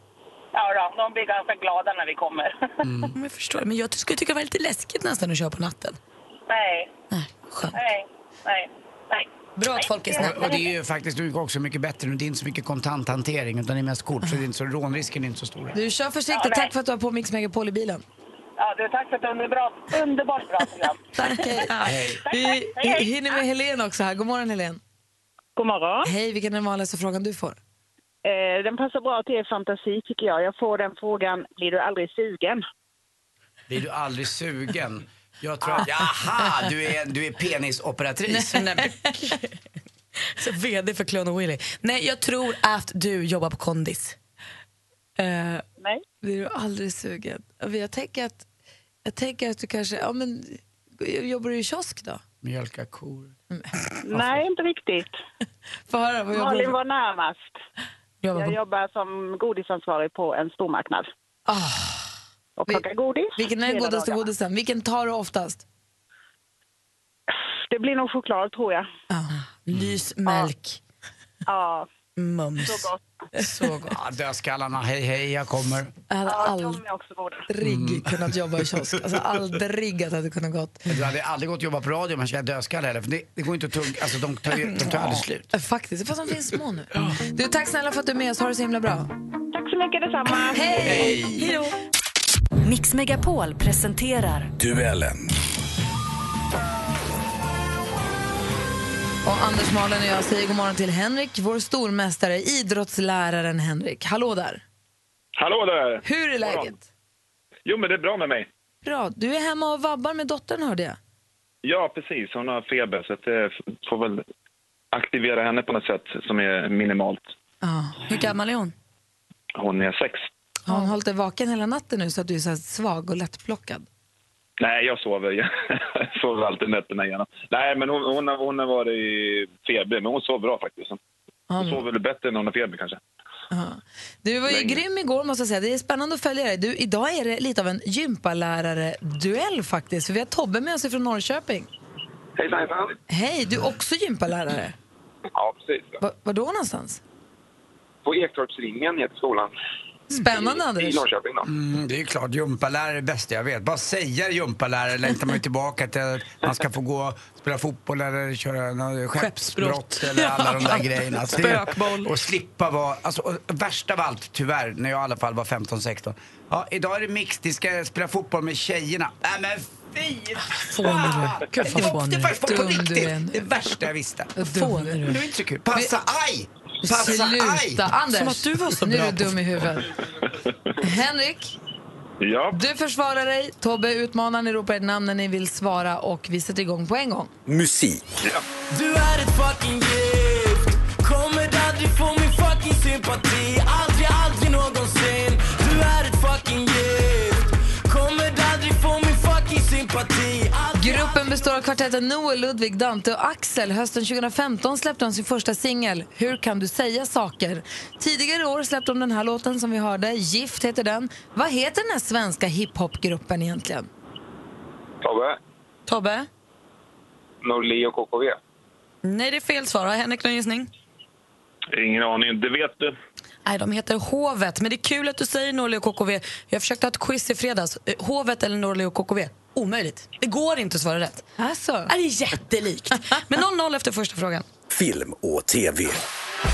L: Ja, då, de blir ganska glada när vi kommer.
C: Mm. Jag förstår. Men jag skulle tycka det var lite läskigt nästan att köra på natten.
L: nej.
B: Ah,
C: Skönt.
L: nej, nej, nej.
C: Bra att folk är snälla.
B: Och, och det är ju faktiskt också mycket bättre nu. Det är inte så mycket kontanthantering utan det är mest kort så, det är inte så rånrisken är inte så stor.
A: Du kör försiktigt. Tack för att du har på Mix Megapol i bilen.
L: Ja, du, tack för ett underbart, underbart bra program.
A: Tack, hej. Vi vi hinner med Helen också här. God morgon Helen.
N: God morgon.
A: Hej, vilken är den vanligaste frågan du får?
N: Eh, den passar bra till er fantasi tycker jag. Jag får den frågan, blir du aldrig sugen?
B: Blir du aldrig sugen? Jag tror att, jaha, du är, du är penisoperatriss.
C: Så VD för Clone och Willy. Nej, jag tror att du jobbar på kondis.
L: Eh,
A: Nej. Blir du aldrig sugen? Jag tänker att, jag tänker att du kanske... Ja, men, jobbar du i kiosk då?
B: Mjölka kor.
N: Nej, inte riktigt.
A: Få höra, vad jobbar du
N: Malin
A: med?
N: var närmast.
A: Jobbar på-
N: Jag jobbar som godisansvarig på en stormarknad.
A: Ah.
N: Och plockar godis.
A: Vilken är den
N: hela
A: godaste
N: dagarna.
A: godisen? Vilken tar du oftast?
N: Det blir nog choklad tror jag.
C: Ah,
L: Mm.
C: Lysmälk.
N: Ja.
C: Mums.
N: Så gott.
C: Så gott.
B: Ja, dödskallarna, hej hej, jag kommer.
A: Jag hade
N: de är också goda.
A: aldrig
B: Mm.
A: kunnat jobba i kiosk. Alltså aldrig att jag hade kunnat gått.
B: Du hade aldrig gått och jobbat på radio om man käkade dödskalle heller. För det, det går inte att tugga, alltså de tar, ju- de tar aldrig slut.
A: Eh, Faktiskt, fast de finns små nu. Du, tack snälla för att du är med oss. Ha det så himla bra.
N: Tack så mycket, detsamma.
A: Hej! Hej då!
D: Mix Megapol presenterar
O: Duellen.
A: Och Anders, Malin och jag säger god morgon till Henrik, vår stormästare, idrottsläraren Henrik. Hallå där!
P: Hallå där!
A: Hur är läget?
P: Jo, men det är bra med mig.
A: Bra. Du är hemma och vabbar med dottern hörde jag.
P: Ja, precis. Hon har feber, så att det får väl aktivera henne på något sätt som är minimalt.
A: Ja. Hur gammal är hon?
P: Hon är sex.
A: Har hon hållit dig vaken hela natten nu så att du är så här svag och lättplockad?
P: Nej, jag sover. Jag sover alltid nätterna igenom. Nej, men hon, hon, har, hon har varit i feber, men hon sover bra faktiskt. Hon
A: Ja.
P: sover väl bättre när hon har feber kanske.
A: Ja. Du var ju
P: Länge.
A: grym igår måste jag säga. Det är spännande att följa dig. Du, idag är det lite av en gympalärare-duell faktiskt. För vi har Tobbe med oss från Norrköping.
H: Hejsan, hejsan.
A: Hej, du är också gympalärare.
H: Ja, precis.
A: Va, var då någonstans?
H: På Ektorpsringen heter skolan.
A: Spännande
H: I,
A: Anders.
H: i Norrköping då.
B: Mm, det är ju klart, gympalärare är det bästa jag vet. Bara säga gympalärare längtar man ju tillbaka till att man ska få gå och spela fotboll eller köra något skeppsbrott eller alla de där grejerna. Så det-
Q: Spökboll.
B: Och slippa vara, alltså och värst av allt tyvärr, när jag i alla fall var 15-16. Ja, idag är det mix, de ska spela fåtboll med tjejerna. Nej men fy fan!
A: Fånig.
B: Det var- det var faktiskt på
A: Dum du är nu.
B: riktigt det värsta jag visste.
A: Fånig du är.
B: Det var inte så kul. Passa, aj! Passa, aj!
A: Sluta! Anders, nu är du dum i huvudet. Henrik,
P: Ja.
A: du försvarar dig. Tobbe utmanar. Ni ropar ert namn när ni vill svara och vi sätter igång på en gång.
O: Musik.
Q: Du är ett fucking gift Kommer aldrig få min fucking sympati Aldrig, aldrig någonsin Du är ett fucking gift Kommer aldrig få min fucking sympati
A: Gruppen består av kvartetten Noel, Ludvig, Dante och Axel. Hösten 2015 släppte de sin första singel, Hur kan du säga saker? Tidigare i år släppte de den här låten som vi hörde, Gift heter den. Vad heter den här svenska hiphopgruppen egentligen?
H: Tobbe,
C: Tobbe?
H: Norli och KKV.
C: Nej, det är fel svar. Har Henrik någon gissning?
P: Ingen aning. Det vet du.
C: Nej, de heter Hovet. Men det är kul att du säger Norli och KKV. Jag försökte ha ett quiz i fredags. Eh, Hovet eller Norli och KKV? Omöjligt. Det går inte att svara rätt.
A: Alltså.
C: Det är jättelikt. Men 0-0 efter första frågan.
O: Film och TV.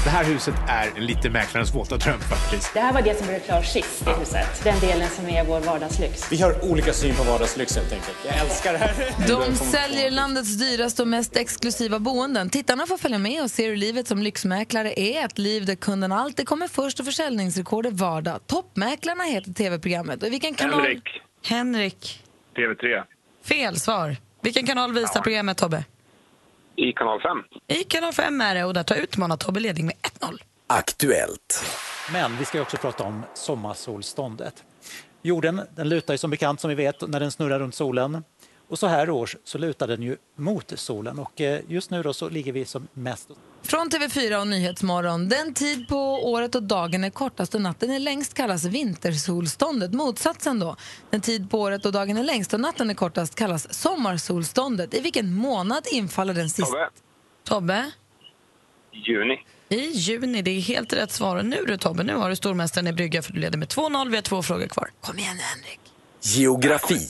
R: Det här huset är lite mäklarens våta dröm faktiskt.
S: Det här var det som blev klart sist i huset. Den delen som är vår vardagslyx.
R: Vi har olika syn på vardagslyx helt enkelt. Jag älskar det här.
A: De säljer landets dyraste och mest exklusiva boenden. Tittarna får följa med och se hur livet som lyxmäklare är. Ett liv där kunden alltid kommer först och försäljningsrekord är vardag. Toppmäklarna heter tv-programmet. Och i vilken kanal...
P: Henrik.
C: Henrik.
P: TV3.
C: Fel svar. Vilken kanal visar programmet, Tobbe?
H: I kanal 5.
C: I kanal 5 är det och där tar utmanar Tobbe ledning med 1-0.
O: Aktuellt.
R: Men vi ska ju också prata om sommarsolståndet. Jorden den lutar ju som bekant som vi vet när den snurrar runt solen.
T: Och så här års så lutar den ju mot solen och eh, just nu då så ligger vi som mest.
A: Från TV4 och Nyhetsmorgon. Den tid på året och dagen är kortast och natten är längst kallas vintersolståndet. Motsatsen då. Den tid på året och dagen är längst och natten är kortast kallas sommarsolståndet. I vilken månad infaller den sist?
H: Tobbe,
C: Tobbe?
H: juni.
C: I juni, det är helt rätt svar. Och nu du Tobbe, nu har du stormästaren i brygga för du leder med 2-0. Vi har två frågor kvar. Kom igen nu Henrik.
O: Geografi.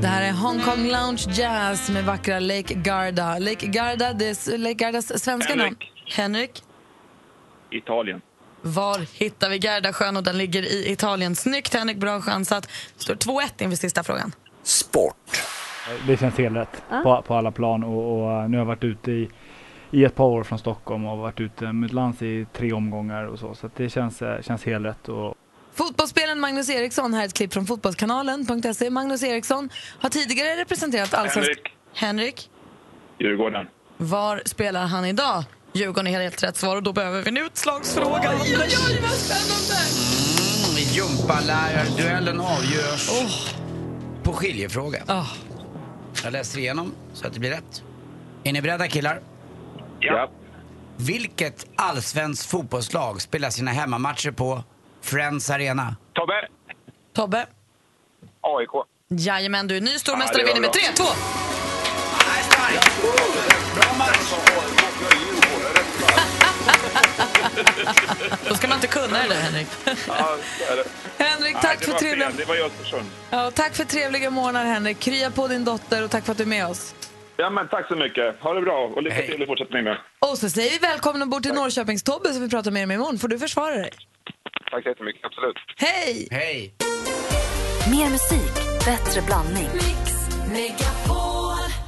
A: Det här är Hong Kong Lounge Jazz med vackra Lake Garda. Lake Garda, det är s- Lake Gardas svenska namn. Henrik,
P: Italien.
C: var hittar vi Gardasjön? Och den ligger i Italien. Snyggt Henrik, bra chansat. Det står 2-1 inför sista frågan.
O: Sport.
U: Det känns helt rätt
C: Ja.
U: på, på alla plan och, och eh, nu har jag varit ute i, i ett par år från Stockholm och varit utomlands i tre omgångar och så. Så att det känns, eh, känns helt rätt. Och,
A: Fotbollsspelaren Magnus Eriksson, här är ett klipp från fotbollskanalen.se. E. Magnus Eriksson har tidigare representerat allsvenskan.
P: Henrik.
C: Henrik,
P: Djurgården.
C: var spelar han idag? Djurgården är helt rätt svar och då behöver vi en utslagsfråga. Oj, oj, oj, vad spännande!
B: Mm, Jumpalärarduellen avgörs på skiljefråga. Jag läser igenom så att det blir rätt. Är ni beredda killar?
P: Ja.
B: Vilket allsvenskt fotbollslag spelar sina hemmamatcher på Friends Arena?
H: Tobbe.
C: Tobbe?
H: AIK.
C: Jajamän, du är ny
H: Ja,
C: stormästare
H: det
C: och
H: var
C: vinner med 3-2.
H: bra.
C: Då ska man inte kunna det där, Henrik.
P: Ja, så är det.
A: Henrik,
P: Nej,
A: tack
P: det
A: för
P: var fel.
A: trevliga...
P: Det var ju Östersund.
A: Ja, och tack för trevliga morgnar, Henrik. Krya på din dotter och tack för att du är med oss.
P: Ja, men tack så mycket. Ha det bra och lycka till i fortsättningen.
A: Och så säger vi välkommen ombord till Norrköpings-Tobbe som vi pratar med om imorgon. Får du försvara dig?
H: Tack så jättemycket, absolut.
A: Hej!
B: Hej!
D: Mer musik, bättre blandning.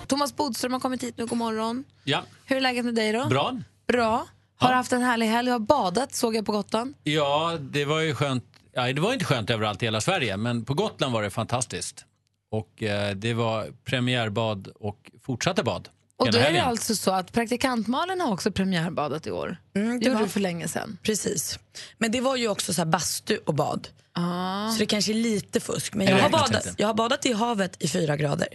A: Thomas Bodström har kommit hit nu. God morgon.
V: Ja,
A: Hur är läget med dig då?
V: bra.
A: Bra. Har haft en härlig helg. Har badat, såg jag på Gotland.
V: Ja, det var ju skönt. Ja, det var inte skönt överallt i hela Sverige, men på Gotland var det fantastiskt. Och eh, det var premiärbad och fortsatta bad.
A: Och
V: hela
A: då är det
V: helgen.
A: alltså så att praktikantmalen har också premiärbadat i år. det gjorde
C: var-
A: du för länge sedan.
C: Precis. Men det var ju också så här bastu och bad.
A: Ah.
C: Så det kanske är lite fusk. Men
A: Det
C: jag har,
A: räknas
C: badat,
A: inte. Mm.
C: jag har badat i havet i fyra grader.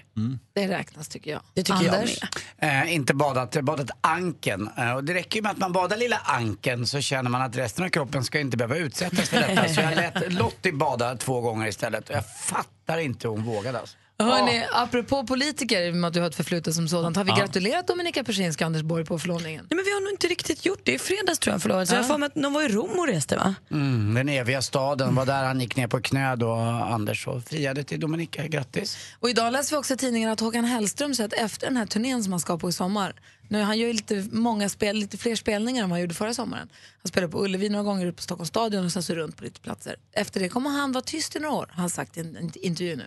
A: Det räknas tycker jag.
C: Det tycker jag
A: Anders?
B: Eh, inte badat, eh, badat anken. Eh, och det räcker ju med att man badar lilla anken så känner man att resten av kroppen ska inte behöva utsättas för detta. Så jag lät Lottie bada två gånger istället och jag fattar inte hur hon vågade alltså.
A: Hörni, apropå politiker, i och med att du har ett förflutet som sådant, har vi
B: Ja.
A: gratulerat Dominika Persinska och Anders Borg på förlovningen?
C: Nej, men vi har nog inte riktigt gjort det. I fredags tror jag förlovade Så jag
A: Ja.
C: har för mig att de var i Rom och reste va?
B: Mm, den eviga staden var där han gick ner på knä då, Anders, och friade till Dominika. Grattis!
A: Och idag läser vi också i tidningen att Håkan Hellström säger att efter den här turnén som han ska på i sommar, nu han gör ju lite, många spel, lite fler spelningar än vad han gjorde förra sommaren. Han spelar på Ullevi några gånger, upp på Stockholms stadion och sen så runt på lite platser. Efter det kommer han vara tyst i några år, har han sagt i en en intervju nu.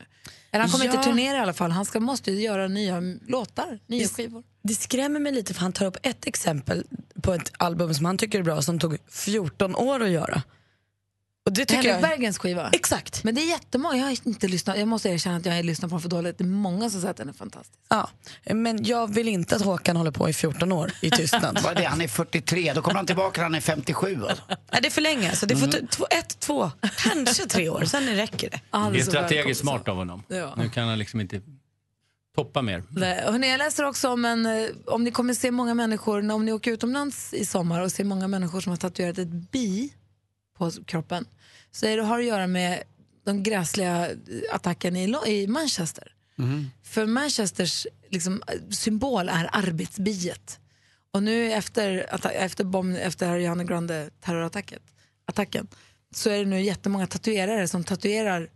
A: Eller han kommer
C: Ja.
A: inte turnera i alla fall, han ska, måste ju göra nya m- låtar, nya skivor.
C: Det skrämmer mig lite för han tar upp ett exempel på ett album som han tycker är bra som tog 14 år att göra. Och det tycker
A: Henrik
C: jag...
A: Bergens skiva? Exakt. Men det är jättemånga, jag har inte lyssnat, jag måste erkänna att jag har lyssnat på den för dåligt. Det är många som säger att den är fantastisk.
C: Ja, men jag vill inte att Håkan håller på i 14 år i tystnad.
B: Vad är det? Han är 43, då kommer han tillbaka när han är 57. Alltså. Mm.
C: Nej, det är för länge. Så det får ta- två, ett, två, kanske tre år. Sen räcker det.
V: det är strategiskt smart av honom.
A: Ja.
V: Nu kan han liksom inte toppa mer.
A: Nej, hörni, jag läser också om, en, eh, om ni kommer se många människor, om ni åker utomlands i sommar och ser många människor som har tatuerat ett bi på s- kroppen, så är det, har det att göra med den gräsliga eh, attacken i, Lo- i Manchester. För Manchesters liksom, eh, symbol är arbetsbiet. Och nu efter, atta- efter, bomb, efter Ariana Grande terrorattacken attacken, så är det nu jättemånga tatuerare som tatuerar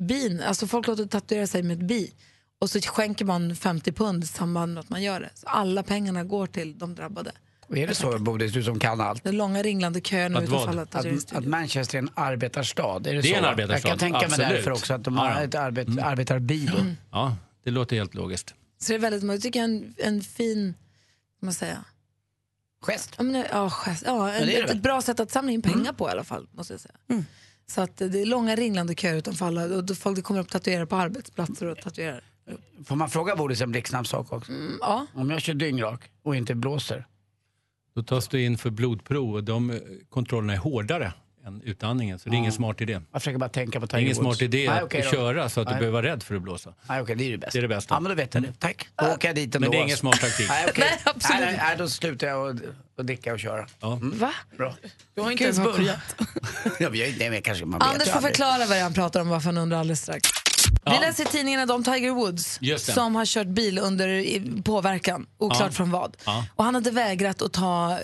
A: bin. Alltså folk låter tatuera sig med ett bi. Och så skänker man 50 pund i samband med att man gör det. Så alla pengarna går till de drabbade.
B: Och Är det så, Bodis, du som kan allt?
A: Den långa ringlande kön
B: Att,
A: utanför
B: vad?
A: alla
B: att,
A: tatueringsstudior.
B: att Manchester är en arbetarstad? Är det,
V: Det är
B: så?
V: en arbetarstad,
B: Jag kan tänka
V: absolut.
B: mig därför också att de har
V: Ja, Mm. ja.
B: ett arbet, arbetarbi. Då.
V: Ja, det låter helt logiskt.
A: Så det är väldigt, jag tycker en, en fin, vad man säga?
B: Gest?
A: Ja, men, ja, gest, ja
B: Ja,
A: en,
B: det Mm. är det
A: ett,
B: väl.
A: ett bra sätt att samla in pengar på i alla fall, måste jag säga. Så att eh, det är långa ringlande köer utanför alla och då folk det kommer upp tatuerare på arbetsplatser och tatuerar.
B: Får man fråga Bodis en blixtsnabb sak också?
A: ja.
B: Om jag kör dyngrak och inte blåser,
V: Då tas du in för blodprov och de eh, kontrollerna är hårdare än utandningen. Så det är ingen
B: Ja.
V: smart idé.
B: Jag försöker bara tänka på
V: Det är
B: Tiger
V: ingen
B: Woods.
V: smart idé
B: Nej,
V: att
B: okej då.
V: köra så att du
B: Nej.
V: behöver vara rädd för att blåsa.
B: Nej, okej, det är det bästa.
V: Det är det bästa. Mm.
B: Ja, men då vet jag det. Tack. Då åker jag dit ändå.
V: Men det är ingen
B: alltså.
V: smart taktik.
B: Nej, okej.
C: Nej, absolut
B: Nej, nej, nej, då slutar jag och, och dricka och köra.
V: Mm.
A: Va?
B: Bra.
C: Du har inte
A: Gud,
C: ens
A: vad
C: börjat.
B: ja, men jag, nej, men kanske man vet
A: Anders
B: ju
A: får
B: aldrig.
A: förklara vad det är han pratar om varför han undrar alldeles strax.
B: Ja.
A: Vi läser i tidningen idag om Tiger Woods
V: Just det.
A: som har kört bil under i- påverkan, oklart
V: Ja.
A: från vad.
V: Ja.
A: Och han hade vägrat att ta eh,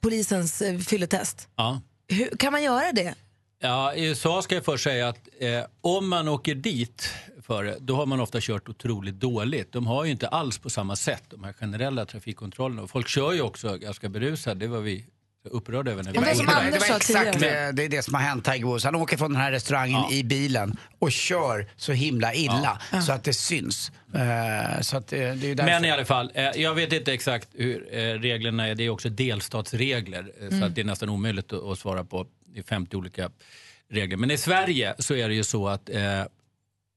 A: polisens eh, fylletest.
V: Ja.
A: Hur, kan man göra det?
V: Ja, I USA ska jag först säga att eh, om man åker dit för det, då har man ofta kört otroligt dåligt. De har ju inte alls på samma sätt de här generella trafikkontrollerna. Och folk kör ju också ganska berusade, det var vi upprörda över när vi
B: det,
V: bodde
B: var-
V: där.
B: det var exakt eh, det, det är det som har hänt Tiger Woods. Han åker från den här restaurangen i bilen och kör så himla illa så att det syns. Eh, så att, eh, det är ju därför.
V: Men i alla fall, eh, jag vet inte exakt hur eh, reglerna är. Det är också delstatsregler, eh, Mm. så att det är nästan omöjligt att, att svara på. Det är 50 olika regler. Men i Sverige så är det ju så att eh,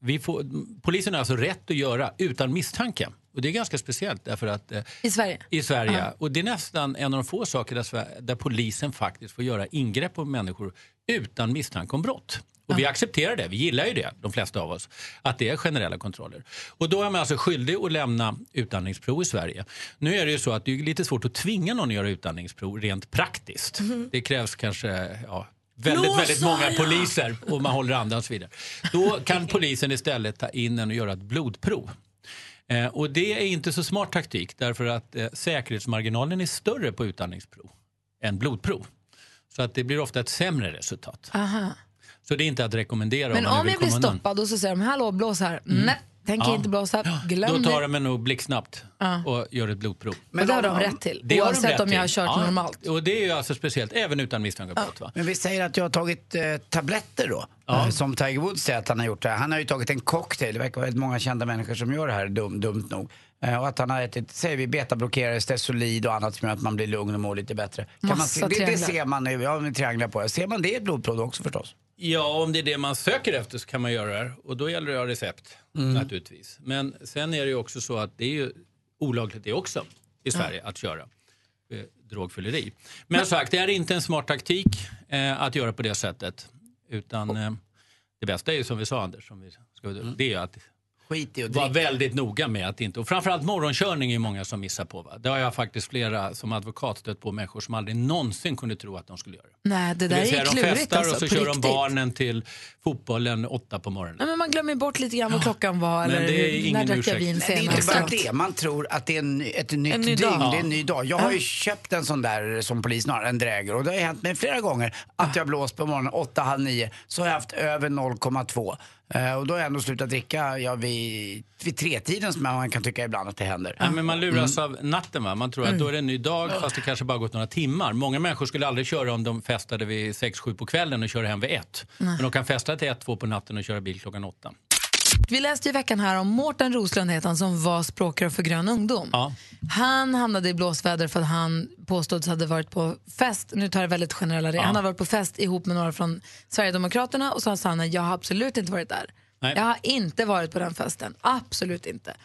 V: vi får, polisen har alltså rätt att göra utan misstanke. Och det är ganska speciellt därför att eh,
A: I Sverige?
V: i Sverige.
A: Ja.
V: Och det är nästan en av de få saker där, Sver- där polisen faktiskt får göra ingrepp på människor utan misstanke om brott. Och vi accepterar det, vi gillar ju det, de flesta av oss, att det är generella kontroller. Och då är man alltså skyldig att lämna utandningsprov i Sverige. Nu är det ju så att det är lite svårt att tvinga någon att göra utandningsprov rent praktiskt. Det krävs kanske ja, väldigt,
F: Blåsa,
V: väldigt många
F: ja!
V: poliser och man håller andan och så vidare. Då kan polisen istället ta in en och göra ett blodprov. Eh, och det är inte så smart taktik därför att eh, säkerhetsmarginalen är större på utandningsprov än blodprov. Så att det blir ofta ett sämre resultat.
A: Aha.
V: Så det är inte att rekommendera
A: Men
V: om man
A: om
V: vill
A: jag blir
V: komma undan.
A: stoppad och så säger de hallå blås här. Nej, tänker
V: Ja.
A: inte blåsa. Glöm
V: Då tar
A: det.
V: de mig nog blixtsnabbt
A: Ja.
V: och gör ett blodprov.
A: Men det har de rätt till,
V: Det har de
A: oavsett
V: rätt
A: om jag har
V: till.
A: kört normalt.
V: Och det är ju alltså speciellt, även utan misstanke om brott. Va?
B: Men vi säger att jag har tagit eh, tabletter då. Eh, Som Tiger Woods säger att han har gjort det. Han har ju tagit en cocktail. Det verkar vara väldigt många kända människor som gör det här, dum, dumt nog. Eh, och att han har ätit, säger vi, betablockerare, Stesolid och annat som gör att man blir lugn och mår lite bättre. Kan man
V: Massa
B: se, det, det
V: trianglar.
B: ser man ju. Ja, med trianglar på. Ser man det i ett blodprov också förstås?
V: Ja, om det är det man söker efter så kan man göra det. här. Och då gäller det att ha recept,
B: Mm.
V: naturligtvis. Men sen är det ju också så att det är ju olagligt det också i Sverige att köra eh, drogfylleri. Men, som sagt, det är inte en smart taktik eh, att göra på det sättet. Utan eh, det bästa är ju som vi sa Anders, som vi ska, det är ju att
B: Mm. Skit i att
V: vara väldigt noga med att inte... Och framförallt morgonkörning är ju många som missar på. Va? Det har jag faktiskt flera som advokat stött på människor som aldrig någonsin kunde tro att de skulle göra.
A: Nej, det där
V: vill säga,
A: är
V: de
A: klurigt
V: festar
A: alltså.
V: och så
A: på
V: kör
A: riktigt.
V: de barnen till fotbollen åtta på morgonen.
A: Nej, men man glömmer bort lite grann vad klockan var
V: Men
A: eller
V: det är
A: när
V: ingen
A: drack jag
V: ursäkt.
A: vin
V: Nej, det är
B: Det
A: senast.
B: är inte bara
A: Exakt.
B: det, man tror att det är en, ny- ett nytt
A: ny
B: dygn,
A: dag.
B: det är en ny dag. Jag har ju
A: Ja.
B: köpt en sån där som polisen har, en dräger. Och det har hänt mig flera gånger att jag blåst på morgonen 8, halv 9. Så har jag haft över 0,2. Eh, och då har jag ändå slutat dricka ja, vid, vid tretiden som man kan tycka ibland att det händer.
V: Ja, men man luras
A: Mm.
V: av natten. Va? Man tror att då är det en ny dag fast det kanske bara gått några timmar. Många människor skulle aldrig köra om de festade vid 6-7 på kvällen och kör hem vid 1.
A: Nej.
V: Men de kan festa till 1-2 på natten och köra bil klockan 8.
A: Vi läste i veckan här om Mårten Roslund heter han, som var språkrör för Grön ungdom. Han hamnade i blåsväder för att han påstods hade varit på fest, nu tar jag väldigt generella regler,
V: Ja.
A: han har varit på fest ihop med några från Sverigedemokraterna och så sa han jag har absolut inte varit där.
V: Nej.
A: Jag har inte varit på den festen, absolut inte.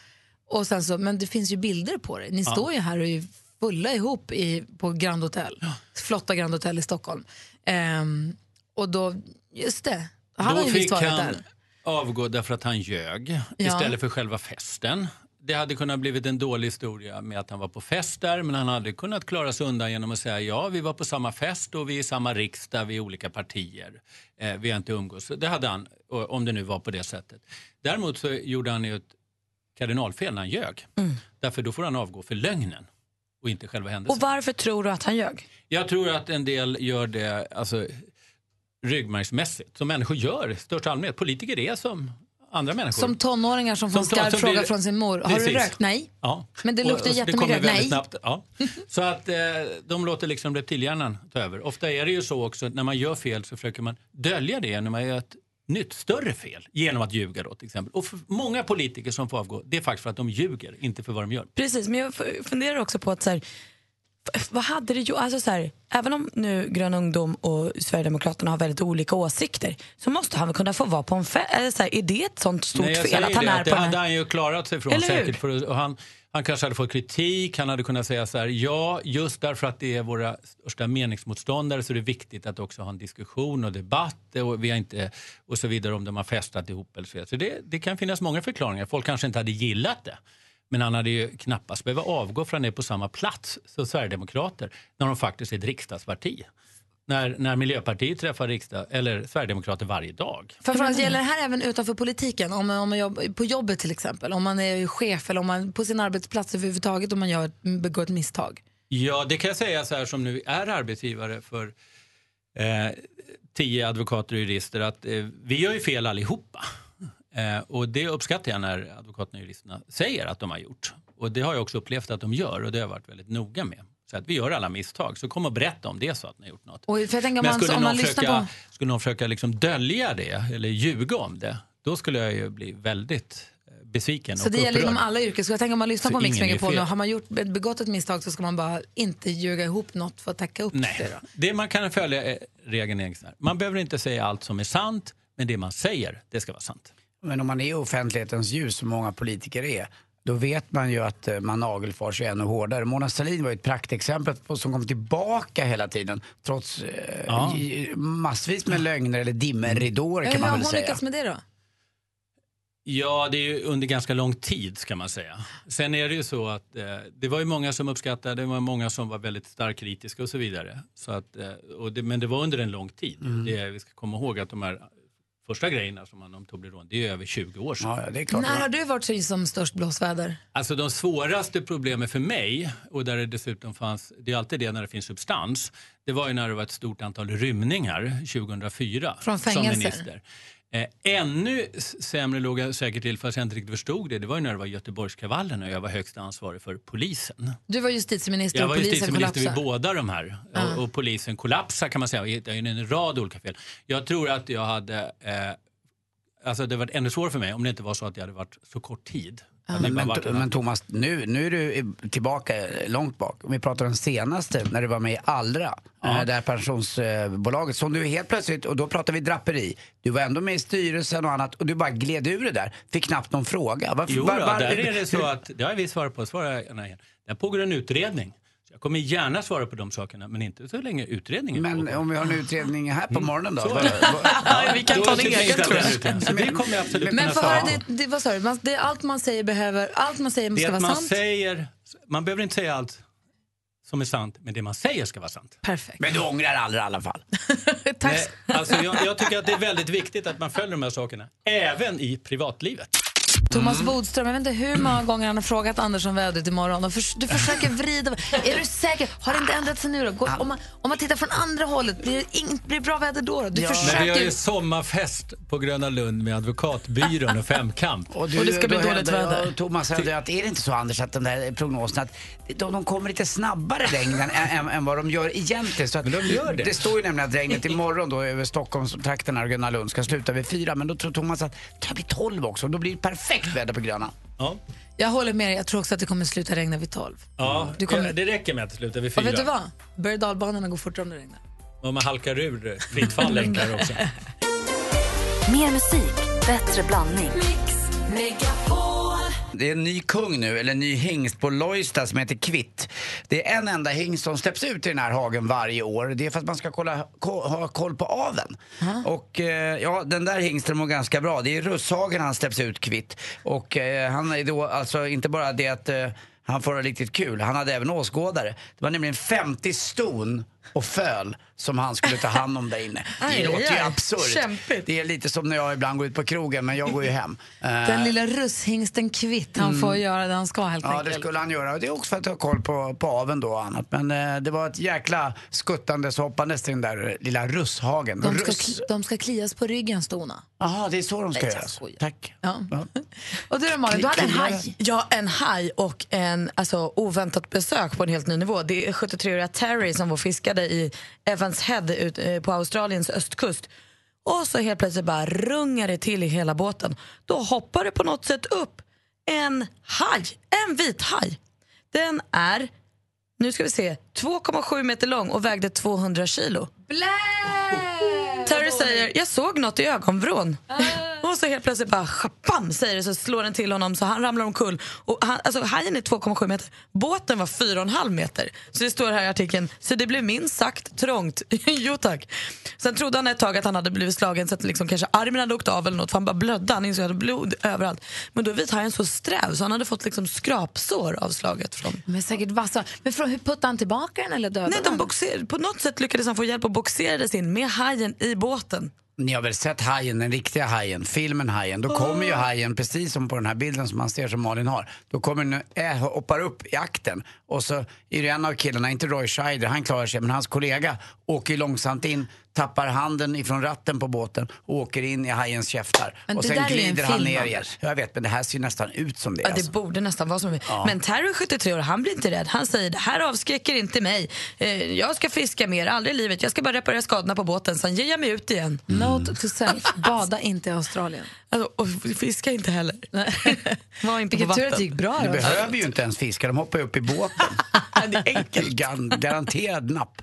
A: Och sen så, men det finns ju bilder på det. Ni
V: Ja.
A: står ju här och är fulla ihop i, på Grand Hotel, flotta Grand Hotel i Stockholm. Ehm, och då, just det, han har
V: då
A: ju visst
V: fick
A: varit
V: han
A: där.
V: avgå därför att han ljög
A: Ja.
V: istället för själva festen. Det hade kunnat blivit en dålig historia med att han var på fest där men han hade kunnat klara sig undan genom att säga ja, vi var på samma fest och vi är i samma riksdag, vi är olika partier, eh, vi har inte umgås. Det hade han, o- om det nu var på det sättet. Däremot så gjorde han ju ett kardinalfel när han ljög.
A: Mm.
V: Därför då får han avgå för lögnen och inte själva händelsen.
C: Och varför tror du att han ljög?
V: Jag tror att en del gör det alltså, ryggmärgsmässigt, som människor gör i största allmänhet. Politiker är som andra människor.
A: Som tonåringar som får en
V: Som ton-
A: skarp
V: som
A: fråga
V: blir-
A: från sin mor. Har du
V: Precis.
A: rökt? Nej.
V: Ja.
A: Men det
V: Och-
A: luktar
V: och
A: jättemycket
V: kommer
A: rök.
V: väldigt
A: Nej.
V: Snabbt, ja. Så att eh, de låter liksom reptilhjärnan ta över. Ofta är det ju så också att när man gör fel så försöker man dölja det när man gör ett nytt, större fel genom att ljuga då till exempel. Och för många politiker som får avgå, det är faktiskt för att de ljuger, inte för vad de gör.
C: Precis, men jag f- funderar också på att så här, f- vad hade det gjort? Alltså så här, även om nu Grön ungdom och Sverigedemokraterna har väldigt olika åsikter så måste han väl kunna få vara på en fest? Är det ett sånt stort
V: Nej, jag
C: fel
V: säger
C: att han
V: det,
C: är
V: att
C: på
V: det
C: en...
V: hade han ju klarat sig från
C: Eller hur?
V: säkert. För, att- och han, Han kanske hade fått kritik. Han hade kunnat säga så här, ja, just därför att det är våra största meningsmotståndare så är det viktigt att också ha en diskussion och debatt och, vi har inte, och så vidare om de har festat ihop eller så. vidare." så det, det kan finnas många förklaringar. Folk kanske inte hade gillat det. Men han hade ju knappast behövt avgå från det på samma plats som Sverigedemokrater när de faktiskt är ett riksdagsparti. När, när Miljöpartiet träffar riksdag, eller Sverigedemokrater varje dag.
A: Framförallt gäller det här även utanför politiken, om, om man jobb, på jobbet till exempel, om man är chef eller om man på sin arbetsplats överhuvudtaget om man gör, begår ett misstag.
V: Ja, det kan jag säga så här som nu är arbetsgivare för eh, tio advokater och jurister att eh, vi gör ju fel allihopa. Eh, och det uppskattar jag när advokaterna och juristerna säger att de har gjort. Och det har jag också upplevt att de gör och det har jag varit väldigt noga med. Så att vi gör alla misstag, så kom och berätta om det är så att ni har gjort något.
A: Och för jag tänker, om
V: Men
A: man,
V: skulle
A: om man
V: någon
A: lyssnar
V: försöka,
A: på...
V: skulle någon försöka liksom dölja det eller ljuga om det, då skulle jag ju bli väldigt eh, besviken
A: Så
V: och
A: det gäller liksom
V: upprörd.
A: inom alla yrken. Så jag tänker om man lyssnar
V: Så
A: på Mix
V: ingen gör
A: Megapol nu,
V: fel.
A: har man gjort, begått ett misstag så ska man bara inte ljuga ihop något för att täcka upp
V: Nej,
A: det. Då.
V: det man kan följa är regeln är så här. Man behöver inte säga allt som är sant, men det man säger, det ska vara sant.
B: Men om man är i offentlighetens ljus, som många politiker är, då vet man ju att eh, man nagelfar sig ännu hårdare. Mona Sahlin var ju ett praktexempel på, som kom tillbaka hela tiden trots eh,
V: Ja.
B: i- massvis med lögner eller dimmerridåer
A: Mm. Ja,
B: kan
A: hur
B: man
A: har
B: väl
A: hon
B: säga.
A: lyckats med det då?
V: Ja, det är ju under ganska lång tid ska man säga. Sen är det ju så att eh, det var ju många som uppskattade, det var många som var väldigt starkt kritiska och så vidare. Så att, eh, och det, men det var under en lång tid.
B: Mm.
V: Det, är- vi ska komma ihåg att de här första grejerna som handlar om Toblerone, det är ju över 20 år sedan.
B: det är
A: När har du varit så som störst blåsväder?
V: Alltså de svåraste problemen för mig, och där det dessutom fanns, det är alltid det när det finns substans, det var ju när det var ett stort antal rymningar 2004.
A: Från
V: Som
A: fängelser?
V: minister. Eh, ännu s- sämre låg jag säkert till fast jag inte riktigt förstod det, det var ju när det var Göteborgskravallerna och jag var högst ansvarig för polisen.
A: Du var justitieminister
V: Jag
A: och
V: var
A: polisen
V: justitieminister vid
A: kollapsade. Ah.
V: båda de här.
A: Ja.
V: Och, och polisen kollapsar kan man säga. Vi hittar ju en rad olika fel. Jag tror att jag hade... Eh, alltså det hade varit ännu svårare för mig om det inte var så att jag hade varit så kort tid.
A: Ah.
V: Hade jag
B: Men,
V: bara varit
B: men,
V: en-
B: men Thomas, nu, nu är du i- tillbaka eh, långt bak. Om vi pratar om senaste, när du var med i Allra, eh, det här pensionsbolaget, som du helt plötsligt, och då pratar vi draperi, du var ändå med i styrelsen och annat och du bara gled ur det där, fick knappt någon fråga. Varför-
V: Jo, då,
B: var- var-
V: där är det
B: hur-
V: så att, det har vi svarat på, svarar jag gärna igen. Där pågår en utredning. Så jag kommer gärna svara på de sakerna, men inte så länge utredningen
B: Men
V: pågår.
B: om vi har en utredning här på morgonen då?
V: Så.
B: Vad- vad-
V: Vi kan
B: Då
V: ta
B: sitter
V: din
B: vi
V: egen,
B: inte
V: tror
B: där
V: jag.
B: ute.
V: Så det kommer jag absolut
A: Men
V: kunna
A: för
V: svara
A: höra,
V: på.
A: det, det, vad sa du? Man, det, allt man säger behöver, allt man säger
V: Det
A: ska
V: är att
A: vara
V: man
A: sant.
V: säger, man behöver inte säga allt som är sant, men det man säger ska vara sant.
A: Perfekt.
B: Men du ångrar aldrig i alla fall?
V: Tack. Alltså, jag, jag tycker att det är väldigt viktigt att man följer de här sakerna, även i privatlivet.
B: Mm.
A: Thomas Bodström, jag vet inte hur många gånger han har frågat Anders om vädret imorgon. Och förs- du försöker vrida... Är du säker? Har det inte ändrat sig nu då?
B: Ah.
A: Går, om, man, om man tittar från andra hållet, blir det, ing, blir det bra väder då? då? Du
V: Men vi har
A: försöker
V: ju sommarfest på Gröna Lund med Advokatbyrån och Femkamp.
B: då hävdar jag, och Thomas hävdar ju att är det inte så Anders att den där prognosen att de, de kommer lite snabbare regnen än, än, än vad de gör egentligen. Så att
V: Men de gör det.
B: det står ju nämligen att regnet imorgon då över Stockholmstrakten och Gröna Lund ska sluta vid fyra. Men då tror Thomas att det kan bli tolv också och då blir det perfekt väder på Gröna.
V: Ja.
A: Jag håller med dig. Jag tror också att det kommer sluta regna vid tolv.
V: Ja,
A: Du kommer-
V: ja, det räcker med att det slutar vid fyra.
A: Och vet du vad? Berg och dalbanorna går fortare om det regnar.
V: Om man halkar ur fritt fall längre också.
W: Mer musik, bättre blandning.
B: Det är en ny kung nu, eller en ny hingst på Lojsta som heter Kvitt. Det är en enda hingst som släpps ut i den här hagen varje år. Det är för att man ska kolla, ko, ha koll på aveln. Och eh, ja, den där hingsten mår ganska bra. Det är i Russhagen han släpps ut Kvitt. Och eh, han är då alltså inte bara det att eh, han får ha riktigt kul, han hade även åskådare. Det var nämligen 50 ston och föl som han skulle ta hand om där inne.
A: Aj,
B: Det låter
A: aj,
B: ju
A: aj.
B: absurt.
A: Kämpigt.
B: Det är lite som när jag ibland går ut på krogen, men jag går ju hem.
A: Den
B: Eh,
A: lilla russhingsten Kvitt, han
B: Mm.
A: får göra det han ska helt
B: Ja, det
A: enkelt.
B: skulle han göra. Och det är också för att ha koll på, på aveln då och annat. Men eh, det var ett jäkla skuttandes och hoppandes till den där lilla russhagen.
A: De ska,
B: Russ.
A: kli- de ska klias på ryggen, stona.
B: Jaha, det är så de ska
A: Nej,
B: göra.
A: jag
B: Tack.
A: Ja. Och du då Malin, du hade en haj.
C: Ja, en haj och en alltså, oväntat besök på en helt ny nivå. Det är 73-åriga Terry som var och fiskade i Evans Head ut, eh, på Australiens östkust. Och så helt plötsligt bara rungar det till i hela båten. Då hoppar det på något sätt upp en haj, en vit haj. Den är, nu ska vi se, 2,7 meter lång och vägde 200 kilo.
A: Blä!
C: Terry säger, jag såg något i ögonvrån. Och så helt plötsligt bara bam, säger det så slår den till honom så han ramlar omkull. Och han, alltså, hajen är 2,7 meter, båten var 4,5 meter. Så det står här i artikeln, så det blev minst sagt trångt. jo tack. Sen trodde han ett tag att han hade blivit slagen så att liksom kanske armen hade åkt av eller något för han bara blödde, han insåg att det hade blod överallt. Men då är vithajen så sträv så han hade fått liksom skrapsår av slaget från
F: Men säkert vassa. Men från, hur puttade han tillbaka den eller dödade
C: Nej, de boxer, på något sätt lyckades han få hjälp och boxerades in med hajen i båten.
B: Ni har väl sett Hajen, den riktiga Hajen, filmen Hajen. Då kommer
C: Ah.
B: ju Hajen, precis som på den här bilden som man ser som Malin har, då kommer den, äh, hoppar upp i akten. Och så är det en av killarna, inte Roy Scheider, han klarar sig, men hans kollega åker ju långsamt in, tappar handen ifrån ratten på båten och åker in i Hajens käftar.
C: Men
B: och
C: det
B: sen
C: där är ju en
B: glider han
C: film,
B: ner
C: va?
B: igen. Jag vet, men det här ser ju nästan ut som det.
C: Ja,
B: alltså.
C: det borde nästan vara som
B: Ja.
C: Men Terry 73 år, han blir inte rädd. Han säger det här avskräcker inte mig. Eh, jag ska fiska mer, aldrig i livet. Jag ska bara reparera skadorna på båten, sen ger jag mig ut igen.
F: Note to self, bada inte i Australien.
C: Alltså, och fiska inte heller. Var inte på
F: Vilken tur att
C: vatten.
F: det gick bra.
B: Du
F: då.
B: behöver ju inte ens fiska, de hoppar ju upp i båten.
C: det är enkelt.
B: Garanterad napp.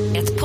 G: Ett